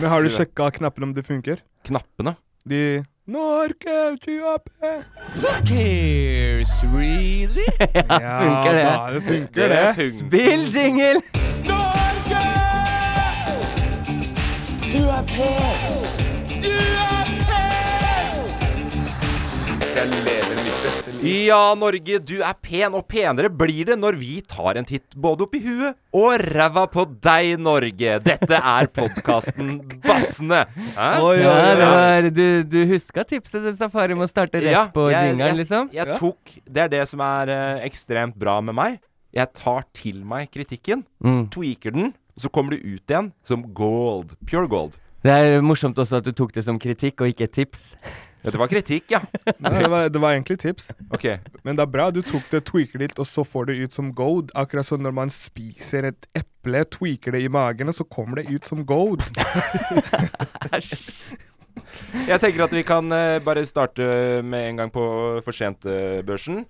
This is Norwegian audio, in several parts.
Men har du sjekka knappen om det funker? Knappene. De Norge 20 Cares really? Ja, funker det? Da, det funker det. Spill jingle! Norge! Du er på! Du er på! Ja, Norge, du er pen, og penere blir det når vi tar en titt både oppi huet og ræva på deg, Norge. Dette er podkasten Bassene. Hæ? Oi, oi, Ja, det oi. var, du, du huska tipset til Safari om å starte rett Ja, på jeg- jingeren, jeg- liksom? Jeg tok Det er det som er eh, ekstremt bra med meg. Jeg tar til meg kritikken, Mm. tweaker den, så kommer det ut igjen som gold. Pure gold. Det er morsomt også at du tok det som kritikk og ikke et tips. Dette var kritikk, ja. Nei, det, var, det var egentlig tips. Ok. Men det er bra. Du tok det, tweaker det litt, og så får det ut som gold. Akkurat som når man spiser et eple, tweaker det i magen, og så kommer det ut som gold. Jeg tenker at vi kan eh, bare starte med en gang på For sent-børsen.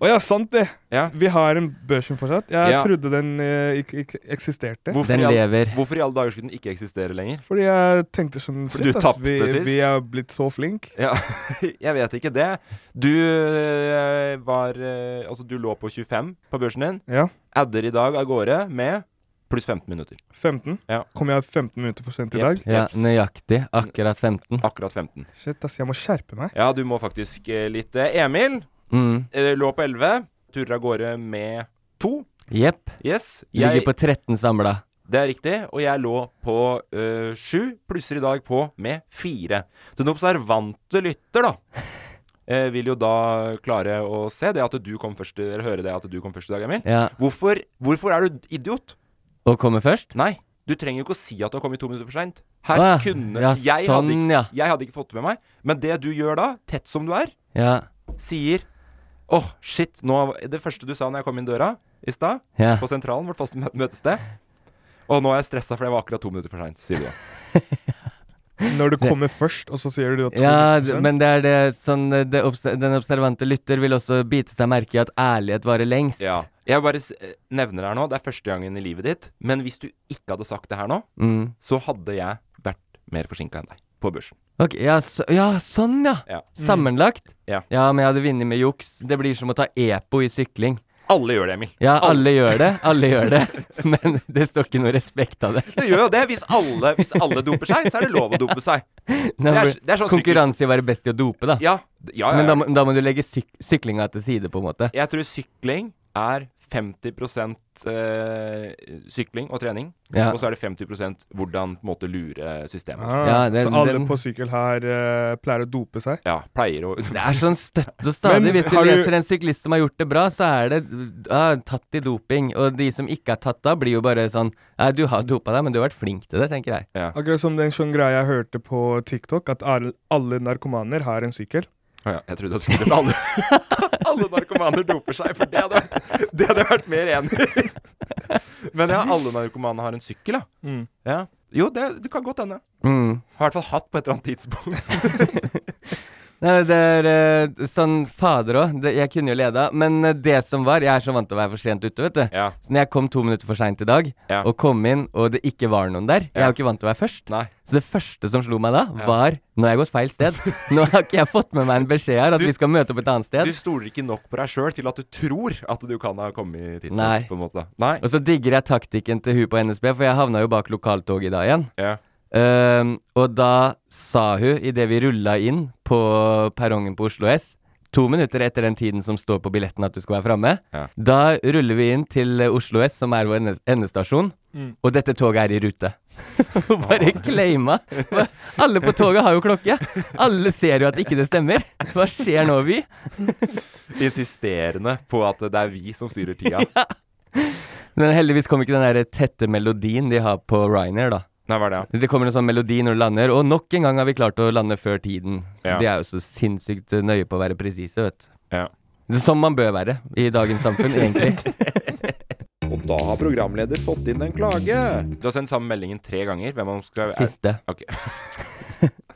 Å ja, sant det. Ja. Vi har en børsen fortsatt. Jeg Ja. trodde den eh, ikke, ikke eksisterte. Hvorfor, Den i all- lever. hvorfor i alle dager skulle den ikke eksistere lenger? Fordi jeg tenkte sånn For du ass, tapte vi, sist. vi er blitt så flink. Ja, jeg vet ikke det. Du eh, var eh, Altså, du lå på 25 på børsen din. Ja. Adder i dag av gårde med pluss 15 minutter. 15. Ja. Kom jeg 15 minutter for sent i Jep. dag? Ja, nøyaktig. Akkurat 15. Akkurat 15. Shit, ass. Jeg må skjerpe meg. Ja, du må faktisk eh, litt eh, Emil Mm. eh, lå på 11. Turer av gårde med to. Jepp. Yes. Jeg, Ligger på 13 samla. det er riktig. Og jeg lå på eh, sju. Plusser i dag på med fire. Så den observante lytter, da, eh, vil jo da klare å se det at du kom først, i- eller høre det at du kom først i dag, Emil. Ja. Hvorfor, hvorfor er du idiot? Og kommer først? Nei, du trenger jo ikke å si at du har kommet to minutter for seint. Å Her ja. kunne Ja, jeg, hadde sånn, ikke, ja. jeg hadde ikke fått det med meg. Men det du gjør da, tett som du er, Ja. sier Åh, shit. Nå, det første du sa når jeg kom inn døra i stad, Ja. på sentralen, vårt faste mø- møtested Å, nå er jeg stressa fordi jeg var akkurat to minutter for seint, sier du da. Når du kommer først, og så sier du at Ja, d- men det er det sånn eh, det obs Den observante lytter vil også bite seg merke i at ærlighet varer lengst. Ja. Jeg bare s- nevner det her nå, det er første gangen i livet ditt. Men hvis du ikke hadde sagt det her nå, Mm. så hadde jeg vært mer forsinka enn deg på børsen. Ok, ja, så, ja, sånn ja. Ja. Sammenlagt? Ja. ja, men jeg hadde vunnet med juks. Det blir som å ta EPO i sykling. Alle gjør det, Emil. Ja, Alle. alle gjør det. Alle gjør det. Men det står ikke noe respekt av det. Det gjør jo det. Hvis alle, hvis alle doper seg, så er det lov å dope seg. Nei, Det er- men det er sånn konkurranse i å være best i å dope, da. Ja, d- ja, ja, Men ja. da, må- da må du legge syk syklinga til side, på en måte. Jeg tror sykling er 50 eh, sykling og trening, Ja. og så er det 50 hvordan på en måte lure systemet. ah, Ja, den- Så alle den- på sykkel her eh, pleier å dope seg? Ja, pleier å Det er sånn støtt og stadig. Men Hvis du har du- leser en syklist som har gjort det bra, så er det ah, tatt i doping. Og de som ikke er tatt av, blir jo bare sånn Nei, du har dopa deg, men du har vært flink til det, tenker jeg. Akkurat som den sånn greia jeg hørte på TikTok, at al- alle narkomaner har en sykkel. Å ja, jeg trodde du skulle ta alle, alle narkomaner doper seg, for det hadde vært, det hadde jeg vært mer enig i. Men ja, alle narkomane har en sykkel, ja. Mm. ja. Jo, det, det kan godt hende. Mm. Har i hvert fall hatt på et eller annet tidspunkt. Nei, det er eh, sånn Fader òg. Jeg kunne jo leda. Men eh, det som var Jeg er så vant til å være for sent ute, vet du. Ja. Så når jeg kom to minutter for seint i dag, Ja. og kom inn, og det ikke var noen der Jeg er jo ikke vant til å være først. Nei. Så det første som slo meg da, var Nå har jeg gått feil sted. Nå har ikke jeg fått med meg en beskjed her at Du- vi skal møte opp et annet Du sted. stoler ikke nok på deg sjøl til at du tror at du kan ha kommet Nei. tidsnok, på en måte. Nei. Og så digger jeg taktikken til hun på NSB, for jeg havna jo bak lokaltoget i dag igjen. Ja. Ehm, og da sa hun, idet vi rulla inn på perrongen på Oslo S, to minutter etter den tiden som står på billetten at du skal være framme, Ja. da ruller vi inn til eh, Oslo S, som er vår ende- endestasjon, og dette toget er i rute. Og bare claima. Bare- Alle på toget har jo klokke. Alle ser jo at ikke det stemmer. Hva skjer nå, Vy? Insisterende på at det er vi som styrer tida. Men heldigvis kom ikke den der tette melodien de har på Ryanair, da. Nei, hva er det? ja? Det kommer en sånn melodi når du lander, og nok en gang har vi klart å lande før tiden. Ja. De er jo så sinnssykt eh, nøye på å være presise, vet du. Ja. Som man bør være i dagens samfunn, egentlig. Og da har programleder fått inn en klage. Du har sendt samme meldingen tre ganger. Hvem man skal er- Siste. Ok.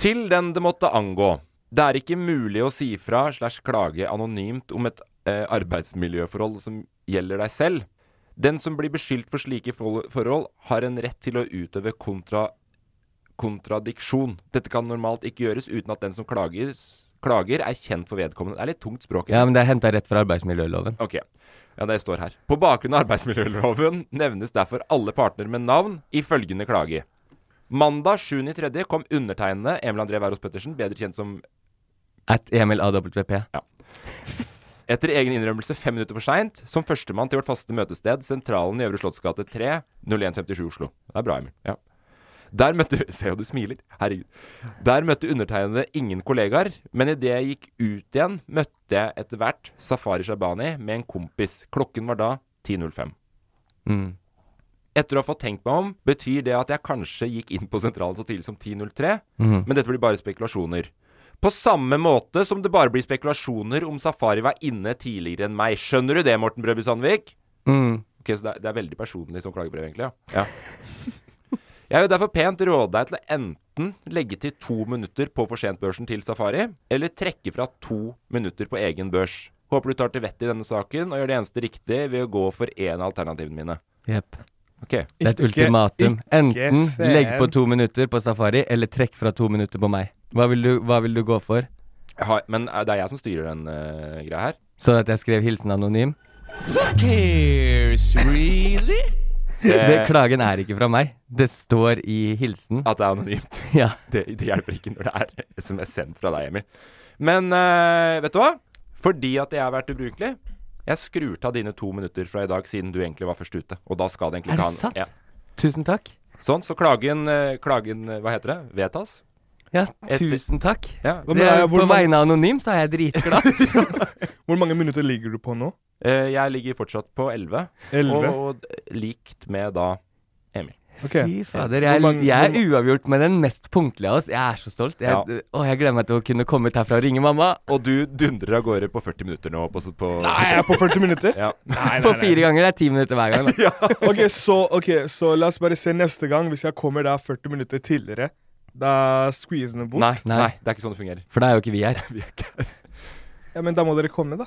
Til den det måtte angå. Det er ikke mulig å si fra slash klage anonymt om et eh, arbeidsmiljøforhold som gjelder deg selv. Den som blir beskyldt for slike forhol- forhold, har en rett til å utøve kontra, kontradiksjon. Dette kan normalt ikke gjøres uten at den som klager, klager er kjent for vedkommende. Det er litt tungt språk. i Ja, men det er henta rett fra arbeidsmiljøloven. Ok. Ja, det står her. På bakgrunn av arbeidsmiljøloven nevnes derfor alle partner med navn i følgende klage. Mandag 7.3 kom undertegnede Emil André Wærås Pettersen, bedre kjent som At E Emil AWP. etter egen innrømmelse fem minutter for seint, som førstemann til vårt faste møtested, Sentralen i Øvre Slottsgate 3, 0157 Oslo. Det er bra, Emil. Ja. Der møtte Se jo du smiler. Herregud. Der møtte undertegnede ingen kollegaer, men idet jeg gikk ut igjen, møtte jeg etter hvert Safari Shabani med en kompis. Klokken var da 10.05. Mm. Etter å ha fått tenkt meg om, betyr det at jeg kanskje gikk inn på sentralen så tidlig som 10.03, Mhm. men dette blir bare spekulasjoner. På samme måte som det bare blir spekulasjoner om Safari var inne tidligere enn meg. Skjønner du det, Morten Brøby Sandvik? Mm. Ok, så det er, det er veldig personlig som klagebrev, egentlig, ja. ja. Jeg vil derfor pent råde deg til å enten legge til to minutter på for sent-børsen til Safari, eller trekke fra to minutter på egen børs. Håper du tar til vettet i denne saken, og gjør det eneste riktige ved å gå for én av alternativene mine. Jepp. Ok. Det er et ultimatum. Enten faen. legg på to minutter på safari, eller trekk fra to minutter på meg. Hva vil du, hva vil du gå for? Jeg har, men eh, det er jeg som styrer den eh, greia her. Sånn at jeg skrev hilsen anonym? Cares, really? Det, klagen er ikke fra meg. Det står i hilsen. At det er anonymt. Ja. Det, det hjelper ikke når det er SMS sendt fra deg, Emil. Men eh, vet du hva? Fordi at jeg har vært ubrukelig, jeg skrur til av dine to minutter fra i dag, siden du egentlig var først ute. Og da skal det egentlig Er det ta en- sant? Ja. Tusen takk. Sånn, så klagen, eh, klagen eh, Hva heter det? Vedtas? Ja, Etter- tusen takk. Ja. Hva Det med- er, hvor Eh, på mange- vegne av Anonym så er jeg dritglad. Hvor mange minutter ligger du på nå? Eh, jeg ligger fortsatt på 11, og, 11? og likt med da Emil. Ok. Fy fader. Jeg, Hvor mange- jeg hvor- er uavgjort, men den mest punktlige av oss. Jeg er så stolt. Jeg, Ja. Å, jeg gleder meg til å kunne komme ut herfra og ringe mamma. Og du dundrer av gårde på 40 minutter nå. På, på, Nei, jeg er på 40 minutter. Ja. På fire ganger. Det er ti minutter hver gang. Da. Ok, så, ok, så la oss bare se neste gang. Hvis jeg kommer da 40 minutter tidligere, da squeezer den bort. Nei, Nei. nei, det er ikke sånn det fungerer. For da er jo ikke vi her. Vi er ikke her. Ja, Men da må dere komme, da.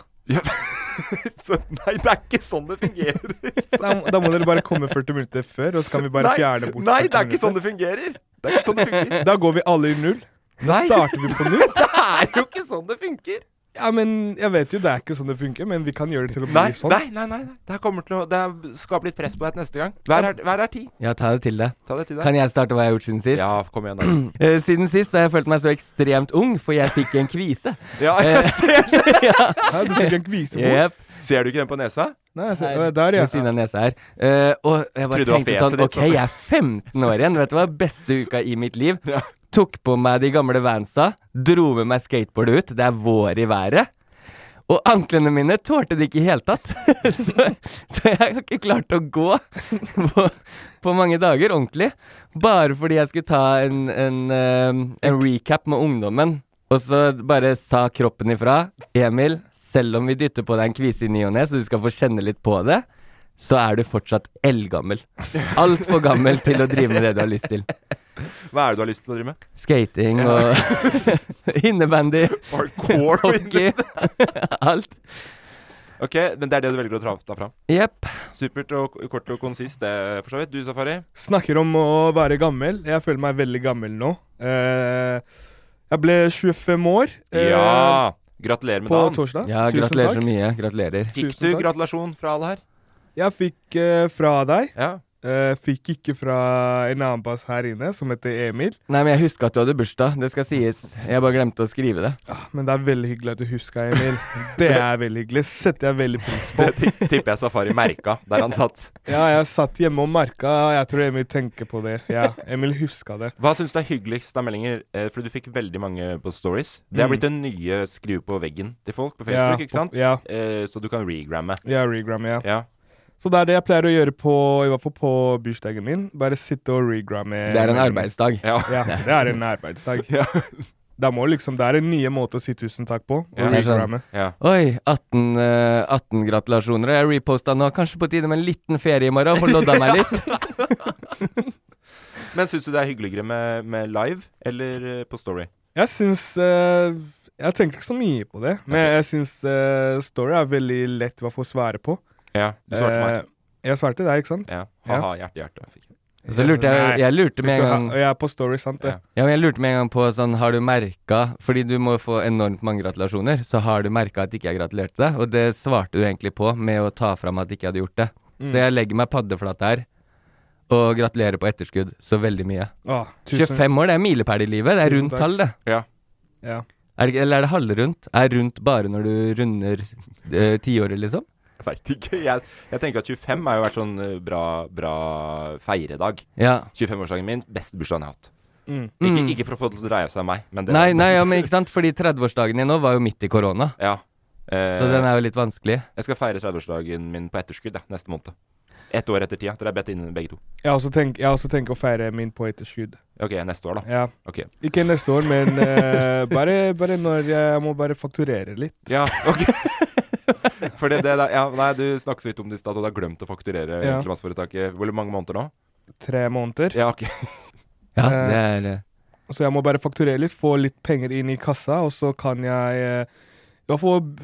Så, nei, det er ikke sånn det fungerer. Så da- da må dere bare komme 40 minutter før, og så kan vi bare nei, fjerne bort nei, 40 det er ikke sånn minutter. det fungerer. Det er ikke sånn det fungerer. Da går vi alle i null. Da Nei. starter vi på null. Det er jo ikke sånn det funker. Ja, men Jeg vet jo det er ikke sånn det funker, men vi kan gjøre det til å bli Nei, sånn. nei, nei. nei, nei. Det her kommer til å det her skaper litt press på deg til neste gang. Hver er, hver er ti. Ja, ta det til deg. Ta det til deg. Kan jeg starte hva jeg har gjort siden sist? Ja, kom igjen, da. Eh, Siden sist har jeg følt meg så ekstremt ung, for jeg fikk en kvise. Ja, Eh, jeg ser, det. Hæ, du fikk en kvise bort. Yep. ser du ikke den på nesa? Nei, så, ja, der, ja. ved siden av nesa her. Eh, og jeg bare Trodde det var tenkte fjeset sånn ditt, OK, sånn. jeg er 15 år igjen. Vet du hva? Beste uka i mitt liv. Tok på meg de gamle vansa, dro med meg skateboardet ut. Det er vår i været. Og anklene mine tålte det ikke i hele tatt. så, så jeg har ikke klart å gå på, på mange dager ordentlig. Bare fordi jeg skulle ta en, en, eh, en recap med ungdommen Og så bare sa kroppen ifra. Emil, selv om vi dytter på deg en kvise i ny og ne, så du skal få kjenne litt på det, så er du fortsatt eldgammel. Altfor gammel til å drive med det du har lyst til. Hva er det du har lyst til å drive med? Skating og innebandy. Hardcore og Hockey. Alt. Ok, men det er det du velger å tra- ta fram? Jepp. Supert og k- kort og konsist, det, for så vidt. Du, Safari? Snakker om å være gammel. Jeg føler meg veldig gammel nå. Eh, jeg ble 25 år. eh, Ja! Gratulerer med på dagen. torsdag. Ja, Tusen gratulerer så takk. mye. Gratulerer. Fikk Tusen du takk. gratulasjon fra alle her? Jeg fikk eh, fra deg. Ja. Eh, fikk ikke fra en annen bass her inne, som heter Emil. Nei, men jeg huska at du hadde bursdag. Det skal sies. Jeg bare glemte å skrive det. Men det er veldig hyggelig at du huska, Emil. Det er veldig hyggelig. Setter jeg veldig pris på. Det ti- tipper jeg Safari merka der han satt. Ja, jeg satt hjemme og merka. Jeg tror Emil tenker på det. Ja, Emil huska det. Hva syns du er hyggeligst av meldinger? Eh, fordi du fikk veldig mange på stories. Det er blitt den nye skrive på veggen til folk på Ja, Facebook, ikke sant? ja. Eh, så du kan regramme. Ja, regram, ja. Ja. Så det er det jeg pleier å gjøre på i hvert fall på bursdagen min. Bare sitte og regramme. Det er en arbeidsdag. ja. Eh, Ja, det er en arbeidsdag. Da må liksom, Det er en nye måte å si tusen takk på. Ja. å Det er sånn. regramme. ja. Oi, 18, eh, 18 gratulasjoner. og Jeg reposta nå. Kanskje på tide med en liten ferie i morgen? Få lodda meg litt. Men syns du det er hyggeligere med, med live eller eh, på story? Jeg syns eh, Jeg tenker ikke så mye på det, men jeg syns eh, story er veldig lett hva for å svare på. Ja. Du svarte meg. Eh, jeg svarte deg, ikke sant? Ja. Ha-ha, hjerte, hjerte. Fikk jeg. Og så lurte jeg, jeg lurte med en gang Og jeg er på story, sant det? Ja. Ja, men jeg lurte med en gang på sånn, har du merka Fordi du må få enormt mange gratulasjoner, så har du merka at ikke jeg gratulerte deg? Og det svarte du egentlig på med å ta fram at ikke jeg hadde gjort det. Så jeg legger meg paddeflat her og gratulerer på etterskudd så veldig mye. Å, tusen- 25 år, det er milepæl i livet. Det er Tusen rundt takk. tall, det. Ja. Ja. Er, det ikke- eller er det halvrundt? Er rundt bare når du runder eh, tiåret, liksom? Jeg vet ikke. Jeg, jeg tenker at 25 har jo vært sånn eh, bra, bra feiredag. Ja. 25-årsdagen min, beste bursdagen jeg har hatt. Mm. Ikke, Mm. ikke for å få det til å dreie seg om meg, men det Nei, er nei, best. ja, men ikke sant? Fordi 30-årsdagen din nå var jo midt i korona, Ja. Eh, så den er jo litt vanskelig. Jeg skal feire 30-årsdagen min på etterskudd ja, neste måned. Ett år etter tida. Dere er bedt inn begge to. Jeg har også tenk- jeg har også tenkt å feire min på etterskudd. Ok, neste år, da. Ja. Ok. Ikke neste år, men eh, bare, bare når jeg må bare fakturere litt. Ja, ok. For det, det der, ja, nei, du snakket så vidt om det i stad, og du har glemt å fakturere Ja. enkeltmannsforetaket. Hvor mange måneder nå? Tre måneder. Ja, ok. Ja, Eh, det er eh, Så jeg må bare fakturere litt, få litt penger inn i kassa, og så kan jeg eh, I hvert fall b-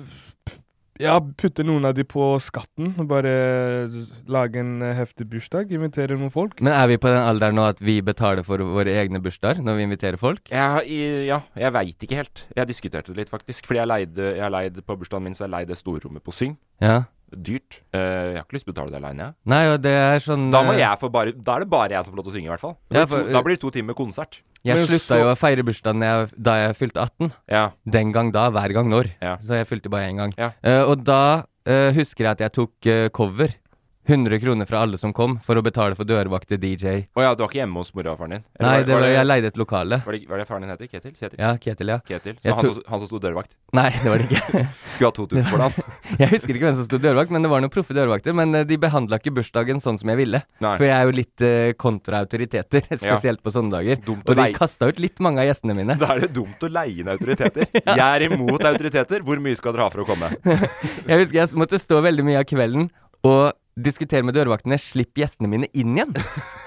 ja, putte noen av de på skatten. og Bare lage en eh, heftig bursdag, invitere noen folk. Men er vi på den alderen nå at vi betaler for våre egne bursdager når vi inviterer folk? Jeg, har i- ja, jeg veit ikke helt. Jeg diskuterte det litt, faktisk. Fordi jeg leide, jeg leide på bursdagen min, så jeg leide storrommet på Syng. Ja. Dyrt. Eh, jeg har ikke lyst til å betale det aleine, jeg. Nei, og det er sånn Da, må eh, jeg få bare, da er det bare jeg som får lov til å synge, i hvert fall. Da Ja, blir det for- to, da blir det to timer konsert. Jeg Men slutta så- jo å feire bursdagen jeg, da jeg fylte 18. Ja. Den gang da, hver gang når. Ja. Så jeg fylte bare én gang. Ja. Eh, og da eh, husker jeg at jeg tok eh, cover. 100 kroner fra alle som kom, for å betale for dørvakt til DJ. Å ja, du var ikke hjemme hos mora og faren din? Eller Nei, var- det var var, jeg leide et lokale. Var det, var det faren din heter? Ketil? Kjetil? Ja, Ketil, ja. Ketil. Så Jeg han, tror- som- han som sto dørvakt? Nei, det var det ikke. Skulle ha 2000 for det, han. Jeg husker ikke hvem som sto dørvakt, men det var noen proffe dørvakter. Men eh, de behandla ikke bursdagen sånn som jeg ville. Nei. For jeg er jo litt eh, kontra autoriteter, spesielt på sånne dager. Dumt å og de leie- kasta ut litt mange av gjestene mine. Da er det dumt å leie inn autoriteter. Jeg er imot autoriteter. Hvor mye skal dere ha for å komme? Jeg husker jeg måtte stå veldig mye av kvelden og diskutere med dørvaktene. Slipp gjestene mine inn igjen!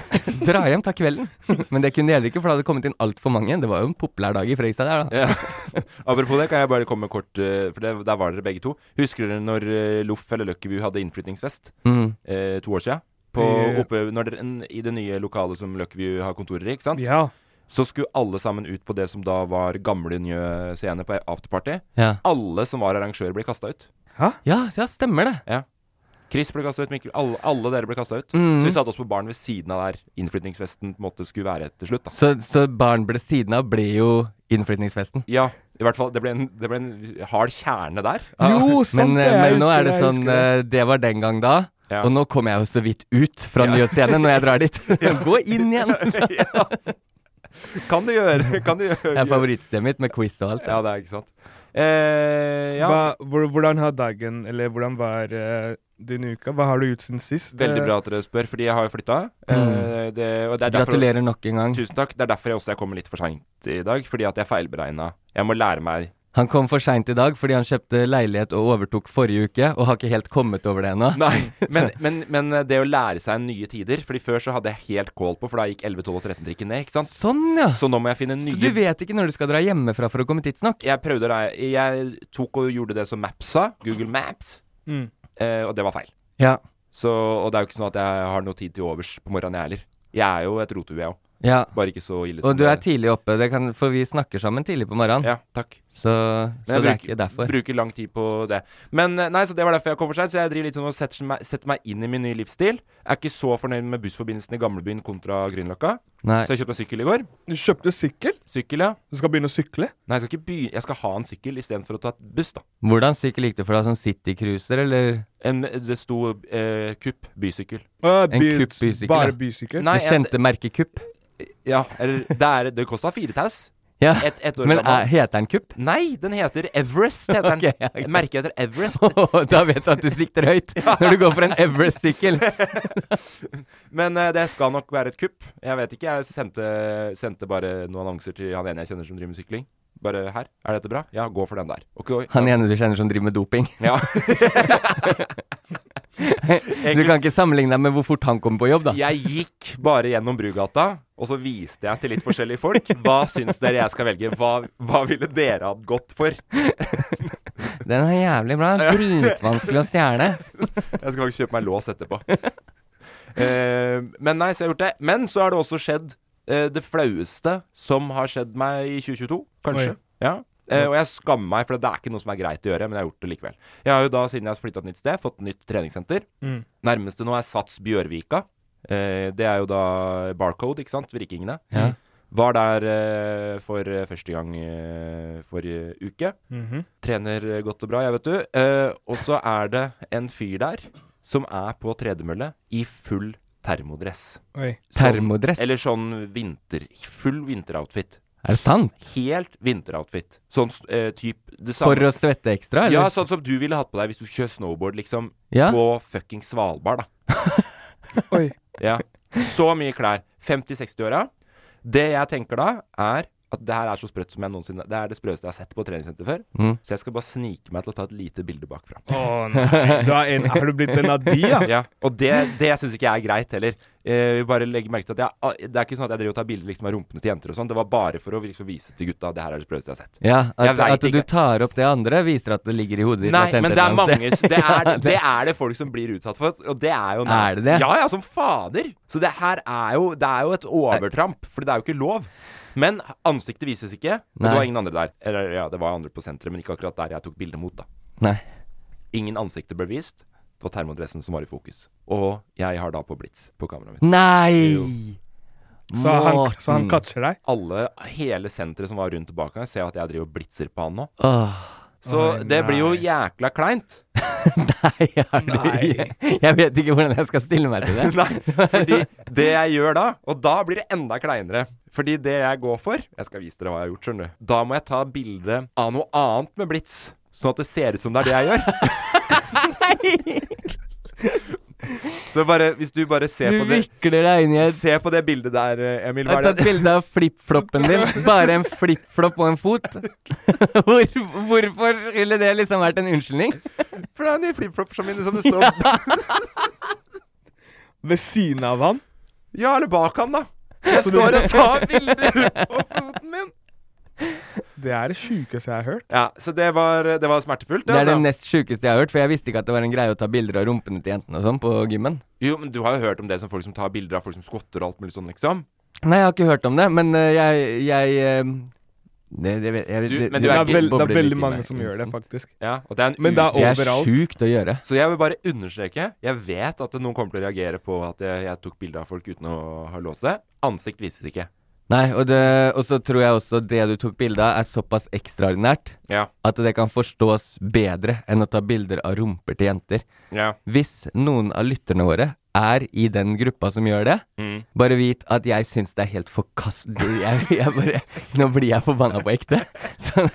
Dra hjem, ta kvelden. Men det kunne de heller ikke, for det hadde kommet inn altfor mange. Det var jo en populær dag i Fredrikstad der, da. Ja. Apropos det, kan jeg bare komme med kort eh, For det, der var dere begge to. Husker dere når eh, Loff eller Luckybu hadde innflyttingsfest Mm. eh, to år siden? På, Ja. oppe, når dere, en, I det nye lokalet som Luckybu har kontorer i, ikke sant? Ja. Så skulle alle sammen ut på det som da var gamle Njø scene på afterparty. Ja. Alle som var arrangør, ble kasta ut. ja, ja, stemmer det. Chris ble kasta ut, Mikkel. Alle, alle dere ble kasta ut. Mm. Så vi satte oss på baren ved siden av der innflytningsfesten på en måte skulle være til slutt. da Så, så barn ble siden av ble jo innflytningsfesten. Ja, i hvert fall. Det ble en, det ble en hard kjerne der. Jo, sant Men, det! eh, jeg men nå husker er det jeg sånn husker eh, Det var den gang da. Ja. Og nå kommer jeg jo så vidt ut fra nye scene når jeg drar dit. Gå inn igjen! ja. Kan du gjøre Kan du gjøre Det er favorittstedet mitt med quiz og alt. Ja, det er ikke sant. Eh, ja. Hva, hvor- hvordan har dagen, eller hvordan var eh, din i uka? Hva har du gjort siden sist? Veldig eh, bra at dere spør, fordi jeg har jo flytta. Eh, det, og det er derfor- Mhm. Gratulerer nok en gang. Tusen takk. Det er derfor jeg også jeg kommer litt for seint i dag, fordi at jeg feilberegna. Jeg må lære meg Han kom for seint i dag fordi han kjøpte leilighet og overtok forrige uke, og har ikke helt kommet over det ennå. Nei, men, men, men det å lære seg nye tider Fordi før så hadde jeg helt kål på, for da gikk 11, 12 og 13-trikken ned. ikke sant? Sånn, ja. Så nå må jeg finne nye Så du vet ikke når du skal dra hjemmefra for å komme tidsnok? Jeg prøvde det. Jeg tok og gjorde det som Mapsa, Google Maps, Mm. eh, og det var feil. Ja. Så, og det er jo ikke sånn at jeg har noe tid til overs på morgenen, jeg heller. Jeg er jo et rotehue, jeg òg. Ja. Bare ikke så ille Og som du det- er tidlig oppe, det kan, for vi snakker sammen tidlig på morgenen. Ja, takk. Så, Men så jeg det er bruker- ikke derfor. Bruker lang tid på det. Men eh, nei, så det var derfor jeg kom for sent. Så jeg driver litt sånn og setter meg, setter meg inn i min nye livsstil. Er ikke så fornøyd med bussforbindelsen i gamlebyen kontra Grünerløkka. Nei. Så jeg kjøpte meg sykkel i går. Eh, Du kjøpte sykkel? Sykkel, ja. Du skal begynne å sykle? Nei, jeg skal ikke begynne Jeg skal ha en sykkel istedenfor å ta et buss, da. Hvordan sykkel gikk det for deg? Sånn citycruiser, eller? En, det sto eh, kupp bysykkel. Uh, En kupp bysykkel, Bare ja. bysykkel? Nei, Det kjente merket Kupp? Ja, eller Det, er- det kosta fire taus. Ja. Et, et år Men er, gammel. heter den Kupp? Nei, den heter Everest, heter den. Ok, ja, ok. Merket heter Everest. da vet du at du sikter høyt når du går for en Everest-sykkel. Men eh, det skal nok være et kupp. Jeg vet ikke. Jeg sendte, sendte bare noen annonser til han ene jeg kjenner som driver med sykling. Bare her. Er dette bra? Ja, gå for den der. Ok, oi. Han ene du kjenner som driver med doping. Ja. Du kan ikke sammenligne deg med hvor fort han kommer på jobb, da. Jeg gikk bare gjennom Brugata, og så viste jeg til litt forskjellige folk. Hva syns dere jeg skal velge? Hva, hva ville dere hatt gått for? Den er jævlig bra. Dritvanskelig å stjele. Jeg skal faktisk kjøpe meg lås etterpå. Eh, men nei, så jeg har gjort det. Men så har det også skjedd eh, det flaueste som har skjedd meg i 2022, kanskje. Oi. Ja. Eh, og jeg skammer meg, for det er ikke noe som er greit å gjøre, men jeg har gjort det likevel. Jeg har jo da, siden jeg har flytta til et nytt sted, fått nytt treningssenter. Mm. Nærmeste nå er Sats Bjørvika. Eh, det er jo da Barcode, ikke sant? Virkingene. Ja. Var der eh, for eh, første gang eh, forrige uke. Mhm. Trener eh, godt og bra, jeg, vet du. Eh, og så er det en fyr der som er på tredemølle i full termodress. Oi. Sånn- Termodress? Eller sånn vinter... Full vinteroutfit. Er det sant? Helt vinteroutfit. Sånn uh, type det samme. For å svette ekstra, Ja, eller? sånn som du ville hatt på deg hvis du kjører snowboard, liksom. Ja. På fucking Svalbard, da. Oi. Ja. Så mye klær. 50-60-åra. Det jeg tenker da, er at det her er så sprøtt som jeg noensinne Det er det sprøeste jeg har sett på treningssenter før. Mm. Så jeg skal bare snike meg til å ta et lite bilde bakfra. Å nei. Du er, en, er du blitt en av de, ja? Ja, og det, det syns ikke jeg er greit heller. Eh, vi bare legger merke til at jeg, Det er ikke sånn at jeg driver og tar bilder liksom, av rumpene til jenter og sånn. Det var bare for å liksom, vise til gutta at det her er det sprøeste jeg har sett. Ja, at, Jeg vet at du ikke. tar opp det andre, viser at det ligger i hodet ditt. Nei, latent et men det er eller annet mange sted. det er, Ja, det er det folk som blir utsatt for, og det er jo Er nasty. det det? Ja, ja, som fader. Så det her er jo Det er jo et overtramp, for det er jo ikke lov. Men ansiktet vises ikke, og Nei. det var ingen andre der. Eller ja, det var andre på senteret, men ikke akkurat der jeg tok bilde mot, da. Nei. Ingen ansikter ble vist. Det var termodressen som var i fokus. Og jeg har da på blitz på kameraet mitt. Nei! Så han, så han Morten. catcher deg? Alle, hele senteret som var rundt bak meg, ser at jeg driver og blitzer på han nå. Åh, Så Oi, det blir jo nei. jækla kleint. nei, er du Jeg vet ikke hvordan jeg skal stille meg til det. Nei, fordi det jeg gjør da, og da blir det enda kleinere. Fordi det jeg går for Jeg skal vise dere hva jeg har gjort, skjønner du. Da må jeg ta bilde av noe annet med blits, sånn at det ser ut som det er det jeg gjør. Så bare, hvis du bare ser Du på det vikler deg inn i et Se på det bildet der, eh, Emil. Jeg Hva har er tatt det? bilde av flipfloppen din. Bare en flipflop og en fot. Hvor, hvorfor skulle det liksom vært en unnskyldning? For det er en ny flipflop som, som det står ja. Ved siden av han? eller bak han, da. Jeg står og tar bilder på foten min. Det er det sjukeste jeg har hørt. Ja, så det var, det var smertefullt. Det er det altså. nest sjukeste jeg har hørt, for jeg visste ikke at det var en greie å ta bilder av rumpene til jentene og sånn på gymmen. Jo, men du har jo hørt om det som folk som tar bilder av folk som skvotter og alt mulig sånn, liksom. Nei, jeg har ikke hørt om det, men øh, jeg, jeg øh, det, det, vet- jeg, Du- det, Det det men du er, er ikke- vel, det bobler er litt i veldig meg mange som gjør det, innsen. faktisk. Ja, og det er en Men det er Det uke. er overalt. sjukt å gjøre. Så jeg vil bare understreke Jeg vet at noen kommer til å reagere på at jeg, jeg tok bilde av folk uten å ha låst det. Ansikt vises ikke. Nei, og, det, og så tror jeg også det du tok bilde av, er såpass ekstraordinært Ja. at det kan forstås bedre enn å ta bilder av rumper til jenter. Ja. Hvis noen av lytterne våre er i den gruppa som gjør det, bare vit at jeg syns det er helt forkastelig. Jeg, jeg bare, nå blir jeg forbanna på ekte. Så,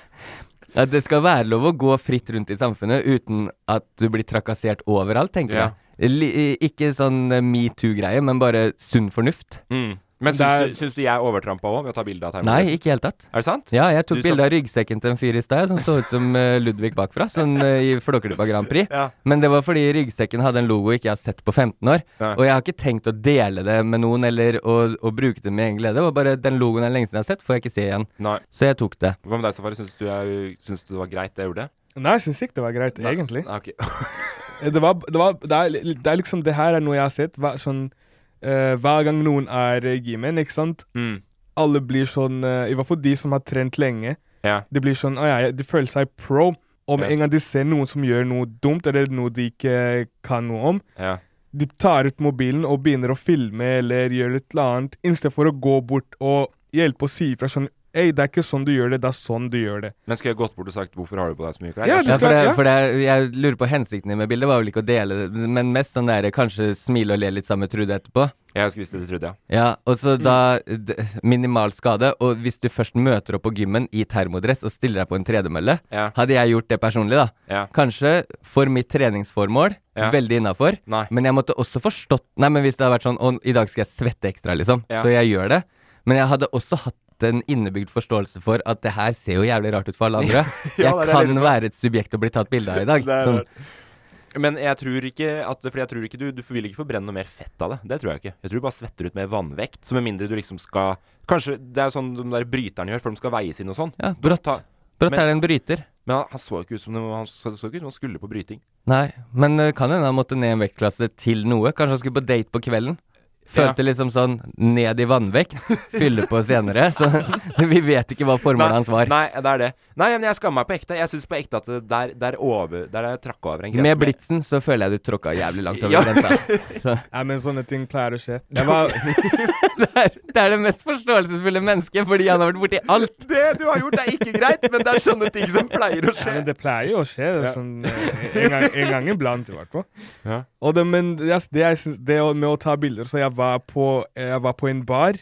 At det skal være lov å gå fritt rundt i samfunnet uten at du blir trakassert overalt, tenker Ja. jeg. Li- Ikke sånn eh, metoo-greie, men bare sunn fornuft. Mm. Men syns, du, syns du jeg er overtrampa òg ved å ta bilde av termotesten? Nei, ikke i det hele tatt. Er det sant? Ja, jeg tok Du så- bilde av ryggsekken til en fyr i sted som så ut som eh, Ludvig bakfra, sånn eh, i Flåklypa Grand Prix. Ja. Men det var fordi ryggsekken hadde en logo ikke jeg har sett på 15 år. Nei. Og jeg har ikke tenkt å dele det med noen eller å, å bruke det med egen glede. Det var bare den logoen jeg lengst har sett, får jeg ikke se igjen. Nei. Så jeg tok det. Hva med deg, Safari? Syns du, jeg- syns du det var greit det jeg gjorde? Nei, jeg syns ikke det var greit, egentlig. Nei, ok. Det, var, det, var, det, er, li- det er liksom Det her er noe jeg har sett. Hver, sånn, eh, hver gang noen er eh, gymmen, ikke sant Mm. Alle blir sånn eh, I hvert fall de som har trent lenge. Ja. De blir sånn Å ja, ja, de føler seg pro. Om Ja. en gang de ser noen som gjør noe dumt, eller noe de ikke eh, kan noe om, Ja. de tar ut mobilen og begynner å filme eller gjør et eller annet, istedenfor å gå bort og hjelpe og si ifra sånn Ei, det er ikke sånn du gjør det, det er sånn du gjør det. Men skulle jeg gått bort og sagt 'hvorfor har du på deg så mye klær'? Ja, Kanskje? du Ja, for, skal- det, ja. for det, er- jeg lurer på hensikten din med bildet var vel ikke å dele det, men mest sånn der kanskje smile og le litt sammen med Trude etterpå. Jeg skulle visst det, trodde jeg. Ja, og så da d minimal skade. Og hvis du først møter opp på gymmen i termodress og stiller deg på en tredemølle, Ja. hadde jeg gjort det personlig, da. Ja. Kanskje for mitt treningsformål, Ja. veldig innafor. Nei. Men jeg måtte også forstått Nei, men hvis det hadde vært sånn Å, i dag skal jeg svette ekstra, liksom. Ja. Så jeg gjør det. Men jeg hadde også hatt en innebygd forståelse for at det her ser jo jævlig rart ut for alle andre. Ja, det er det jeg jeg kan lurer på. være et subjekt å bli tatt bilde av i dag. Sånn, Men jeg tror ikke at Fordi jeg tror ikke du Du vil ikke forbrenne noe mer fett av det. Det tror jeg ikke. Jeg tror du bare svetter ut mer vannvekt. Så med mindre du liksom skal Kanskje det er sånn de der bryterne gjør, for de skal veies inn og sånn. ja, De brått. tar- Brått men- er det en bryter. Men han, han så ikke ut som de- han så så ikke ut som han skulle på bryting. Nei, men eh, kan hende han måtte ned en vektklasse til noe. Kanskje han skulle på date på kvelden. Følte liksom sånn ned i vannvekt, fylle på senere. Så vi vet ikke hva formålet hans var. Nei, det er det. Nei, men jeg skammer meg på ekte. Jeg syns på ekte at det der, der over Der er jeg trakka over en grense. Med blitsen så føler jeg du tråkka jævlig langt over Ja. grensa. Nei, men sånne ting pleier å skje. Jeg var, Det er, det er det mest forståelsesfulle mennesket, fordi han har vært borti alt. Det du har gjort, er ikke greit, men det er sånne ting som pleier å Ja, skje. men det pleier jo å skje. det er Sånn, eh, en, gang, en gang iblant, i hvert fall. Ja. Og det, men det, det, jeg syns- det å- med å ta bilder Så jeg var på, jeg var på en bar.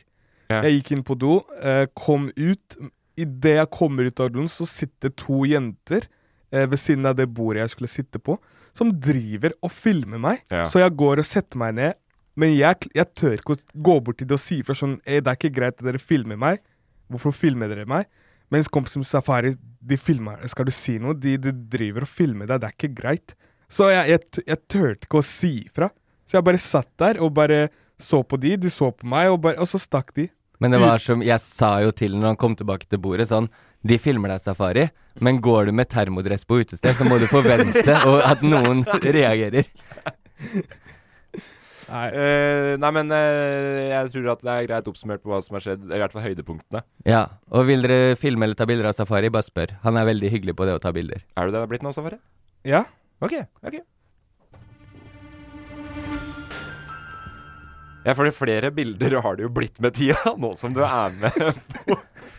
Ja. Jeg gikk inn på do, eh, kom ut. Idet jeg kommer ut av doen, så sitter to jenter eh, ved siden av det bordet jeg skulle sitte på, som driver og filmer meg. Ja. Så jeg går og setter meg ned. Men jeg, kl- jeg tør ikke å s- gå bort til det og si ifra sånn «Eh, Det er ikke greit at dere filmer meg. Hvorfor filmer dere meg? Mens kompisen min Safari de filmer Skal du si noe? De, de driver og filmer deg. Det er ikke greit. Så jeg, jeg, t- jeg turte ikke å si ifra. Så jeg bare satt der og bare så på de. De så på meg, og, bare, og så stakk de. Men det var som jeg sa jo til når han kom tilbake til bordet, sånn De filmer deg safari, men går du med termodress på utested, så må du forvente og at noen reagerer. Nei. Eh, nei, men eh, jeg tror at det er greit oppsummert på hva som har skjedd. I hvert fall høydepunktene. Ja, og vil dere filme eller ta bilder av Safari, bare spør. Han er veldig hyggelig på det å ta bilder. Er du det det har blitt nå, Safari? Ja? Ok, ok. Ja, for det er flere bilder har det jo blitt med tida, nå som du er med.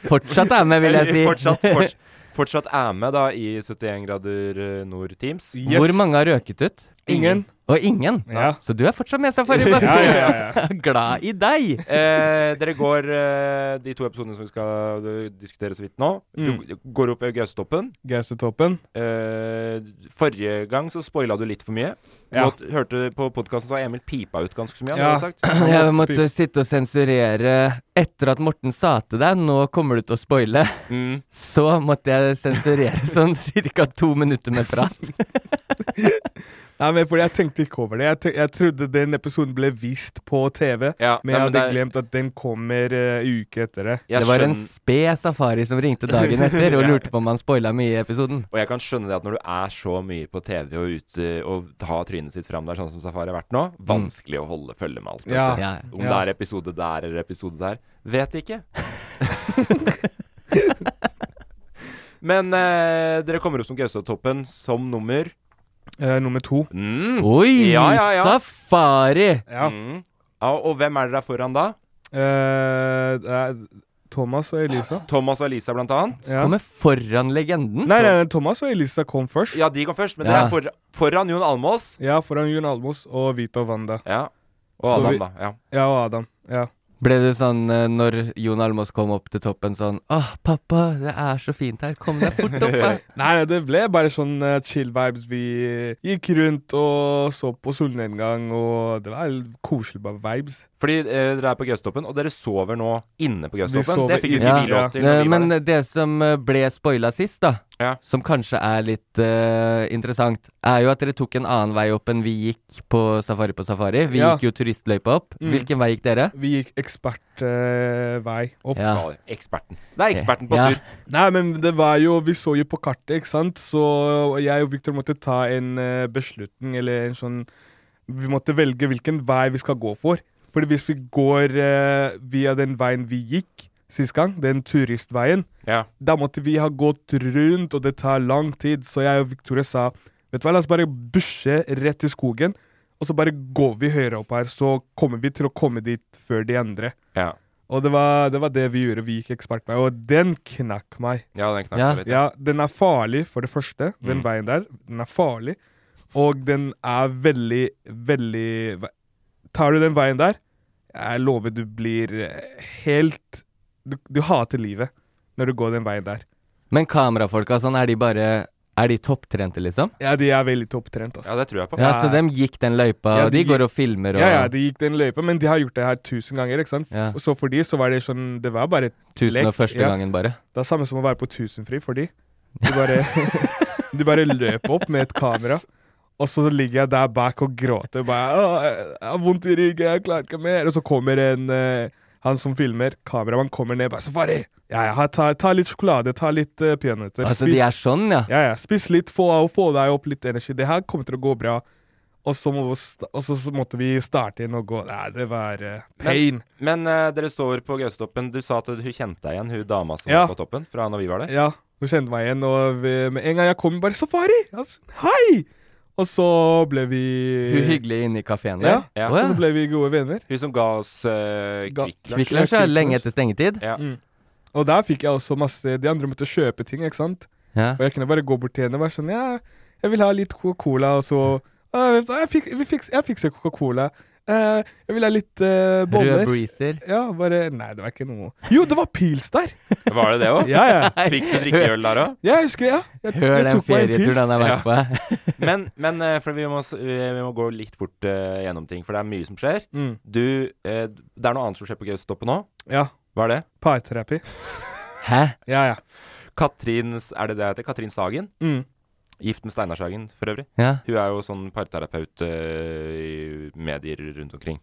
Fortsatt er med, vil jeg si. Fortsatt, forts- fortsatt er med da i 71 grader eh, nord Teams. Yes. Hvor mange har røket ut? Ingen. Og ingen? Ja. Så du er fortsatt med, Safari. Bass. Ja, ja, ja, Glad i deg! Eh, dere går eh, de to episodene som vi skal eh, diskutere så vidt nå. Du Mm. går opp i Gaustetoppen. Gaustetoppen. Eh, forrige gang så spoila du litt for mye. Ja. Nå hørte på podkasten så har Emil pipa ut ganske så mye. Ja. Han hadde sagt. Jeg måtte sitte og sensurere etter at Morten sa til deg 'nå kommer du til å spoile', Mm. så måtte jeg sensurere sånn ca. to minutter med prat. Nei, men fordi Jeg tenkte ikke over det. Jeg, te jeg trodde den episoden ble vist på TV, Ja, men jeg nei, men hadde det er- glemt at den kommer eh, en uke etter det. Jeg det var en skjønner- sped Safari som ringte dagen etter og lurte på om han spoila mye i episoden. Og jeg kan skjønne det at når du er så mye på TV og ute og har trynet sitt fram der, sånn som Safari har vært nå, vanskelig å holde følge med alt. vet Mm. Ja. du. Ja. Om det Ja. er episode der eller episode der, vet ikke. Men eh, dere kommer opp som Gaustatoppen som nummer Eh, nummer to. mm. Oi, Ja, ja, ja. Safari! Ja. Mm. Ja, og hvem er dere der foran da? Eh, det er Thomas og Elisa. Thomas og Elisa, blant annet. Ja. Kommer foran legenden. Nei, nei, nei, Thomas og Elisa kom først. Ja, Ja, de kom først, men Ja. dere er for, foran Jon Almås. foran Jon Almos og Vito Wanda. Ja. Så Og Adam, vi- da. Ja. Ja, og Adam. Ja. Ble du sånn eh, når Jon Almaas kom opp til toppen sånn Åh, pappa, det er så fint her. Kom deg fort opp her. Nei, nei, det ble bare sånn eh, chill vibes. Vi eh, gikk rundt og så på solnedgang, og det var helt koselig bare vibes. Fordi eh, dere er på Gøstoppen, og dere sover nå inne på Gøstoppen. sover Det fikk jo inne. ikke vi lov til. når Eh, vi var Men det som eh, ble spoila sist, da, Ja. som kanskje er litt eh, interessant, er jo at dere tok en annen vei opp enn vi gikk på Safari på Safari. Vi Ja. gikk jo turistløypa opp. Mm. Hvilken vei gikk dere? Vi gikk ekspertvei opp. eh, Ja. der. Eksperten. Det er eksperten på Ja. tur. Nei, men det var jo Vi så jo på kartet, ikke sant? Så jeg og Victor måtte ta en eh, beslutning, eller en sånn Vi måtte velge hvilken vei vi skal gå for. Fordi hvis vi går eh, via den veien vi gikk sist gang, den turistveien, Ja. da måtte vi ha gått rundt, og det tar lang tid. Så jeg og Victoria sa Vet du hva, la oss bare bushe rett til skogen, og så bare går vi høyere opp her, så kommer vi til å komme dit før de andre. Ja. Og det var, det var det vi gjorde. Vi gikk ekspertvei, og den knakk meg. ja, den knakk Ja. litt. Ja, den er farlig, for det første. Den veien der. Den er farlig. Og den er veldig, veldig ve- Tar du den veien der, jeg lover du blir eh, helt Du, du hater livet når du går den veien der. Men kamerafolka sånn, er de bare Er de topptrente, liksom? Ja, de er veldig topptrent, altså. Ja, det tror jeg på. Ja, så dem gikk den løypa, Ja, og de de går gikk- og filmer og Ja, ja, de gikk den løypa, men de har gjort det her tusen ganger, ikke sant? Ja. F- Så for de så var det sånn Det var bare Tusen og lek, første ja. gangen, bare. Det er samme som å være på tusenfri for de. Du bare, du bare løp opp med et kamera, og så ligger jeg der bak og gråter. Bare, «Åh, jeg har vondt i ryggen, jeg klarer ikke mer. Og så kommer en eh, han som filmer, kameramann, kommer ned bare 'Safari, ja, ja, her, ta, ta litt sjokolade, ta litt uh, peanøtter. Altså, de er sånn, ja. ja, ja, spis litt, få, få deg opp litt energi. Det her kommer til å gå bra. Og så, må, vi sta- og så så måtte vi starte inn og gå. Nei, det var eh, pain. Men eh, dere står på Gaustoppen. Du sa at hun kjente deg igjen, hun dama som Ja. var på toppen, fra når vi var der. Ja, hun kjente meg igjen, og vi, med en gang jeg kom, bare 'Safari!' Altså, Hei! Og så ble vi Hun hyggelig inne i kafeen Ja, der. ja. Å, Og så ble vi gode venner. Hun som ga oss uh, Ga- Kvikk Kvikk Lunsj er lenge etter stengetid. Ja. Mm. Og der fikk jeg også masse De andre måtte kjøpe ting, ikke sant? Ja. Og jeg kunne bare gå bort til henne og være sånn 'Ja, jeg vil ha litt Coca-Cola', og så «Ja, vet du hva, jeg, fik, vi fiks, 'Jeg fikser Coca-Cola'. Eh, 'Jeg vil ha litt eh, Røde boller'. breezer. Ja, bare Nei, det var ikke noe Jo, det var pils der! Var det det òg? Ja, ja. Fikk du drikke øl der òg? Ja, jeg husker det. Ja. Jeg, Hør jeg den tok meg en ferieturen han pils. har vært på. Men, men eh, for vi må, s- vi vi må gå litt fort eh, gjennom ting, for det er mye som skjer. Mm. Du, eh, det er noe annet som skjer på Gaustoppen nå. Ja. Hva er det? Parterapi. Hæ? Ja, ja. Katrin, S- er det det heter? Katrin Sagen. Mm. Gift med Steinar Sagen, for øvrig. Ja. Hun er jo sånn parterapeut eh, i medier rundt omkring.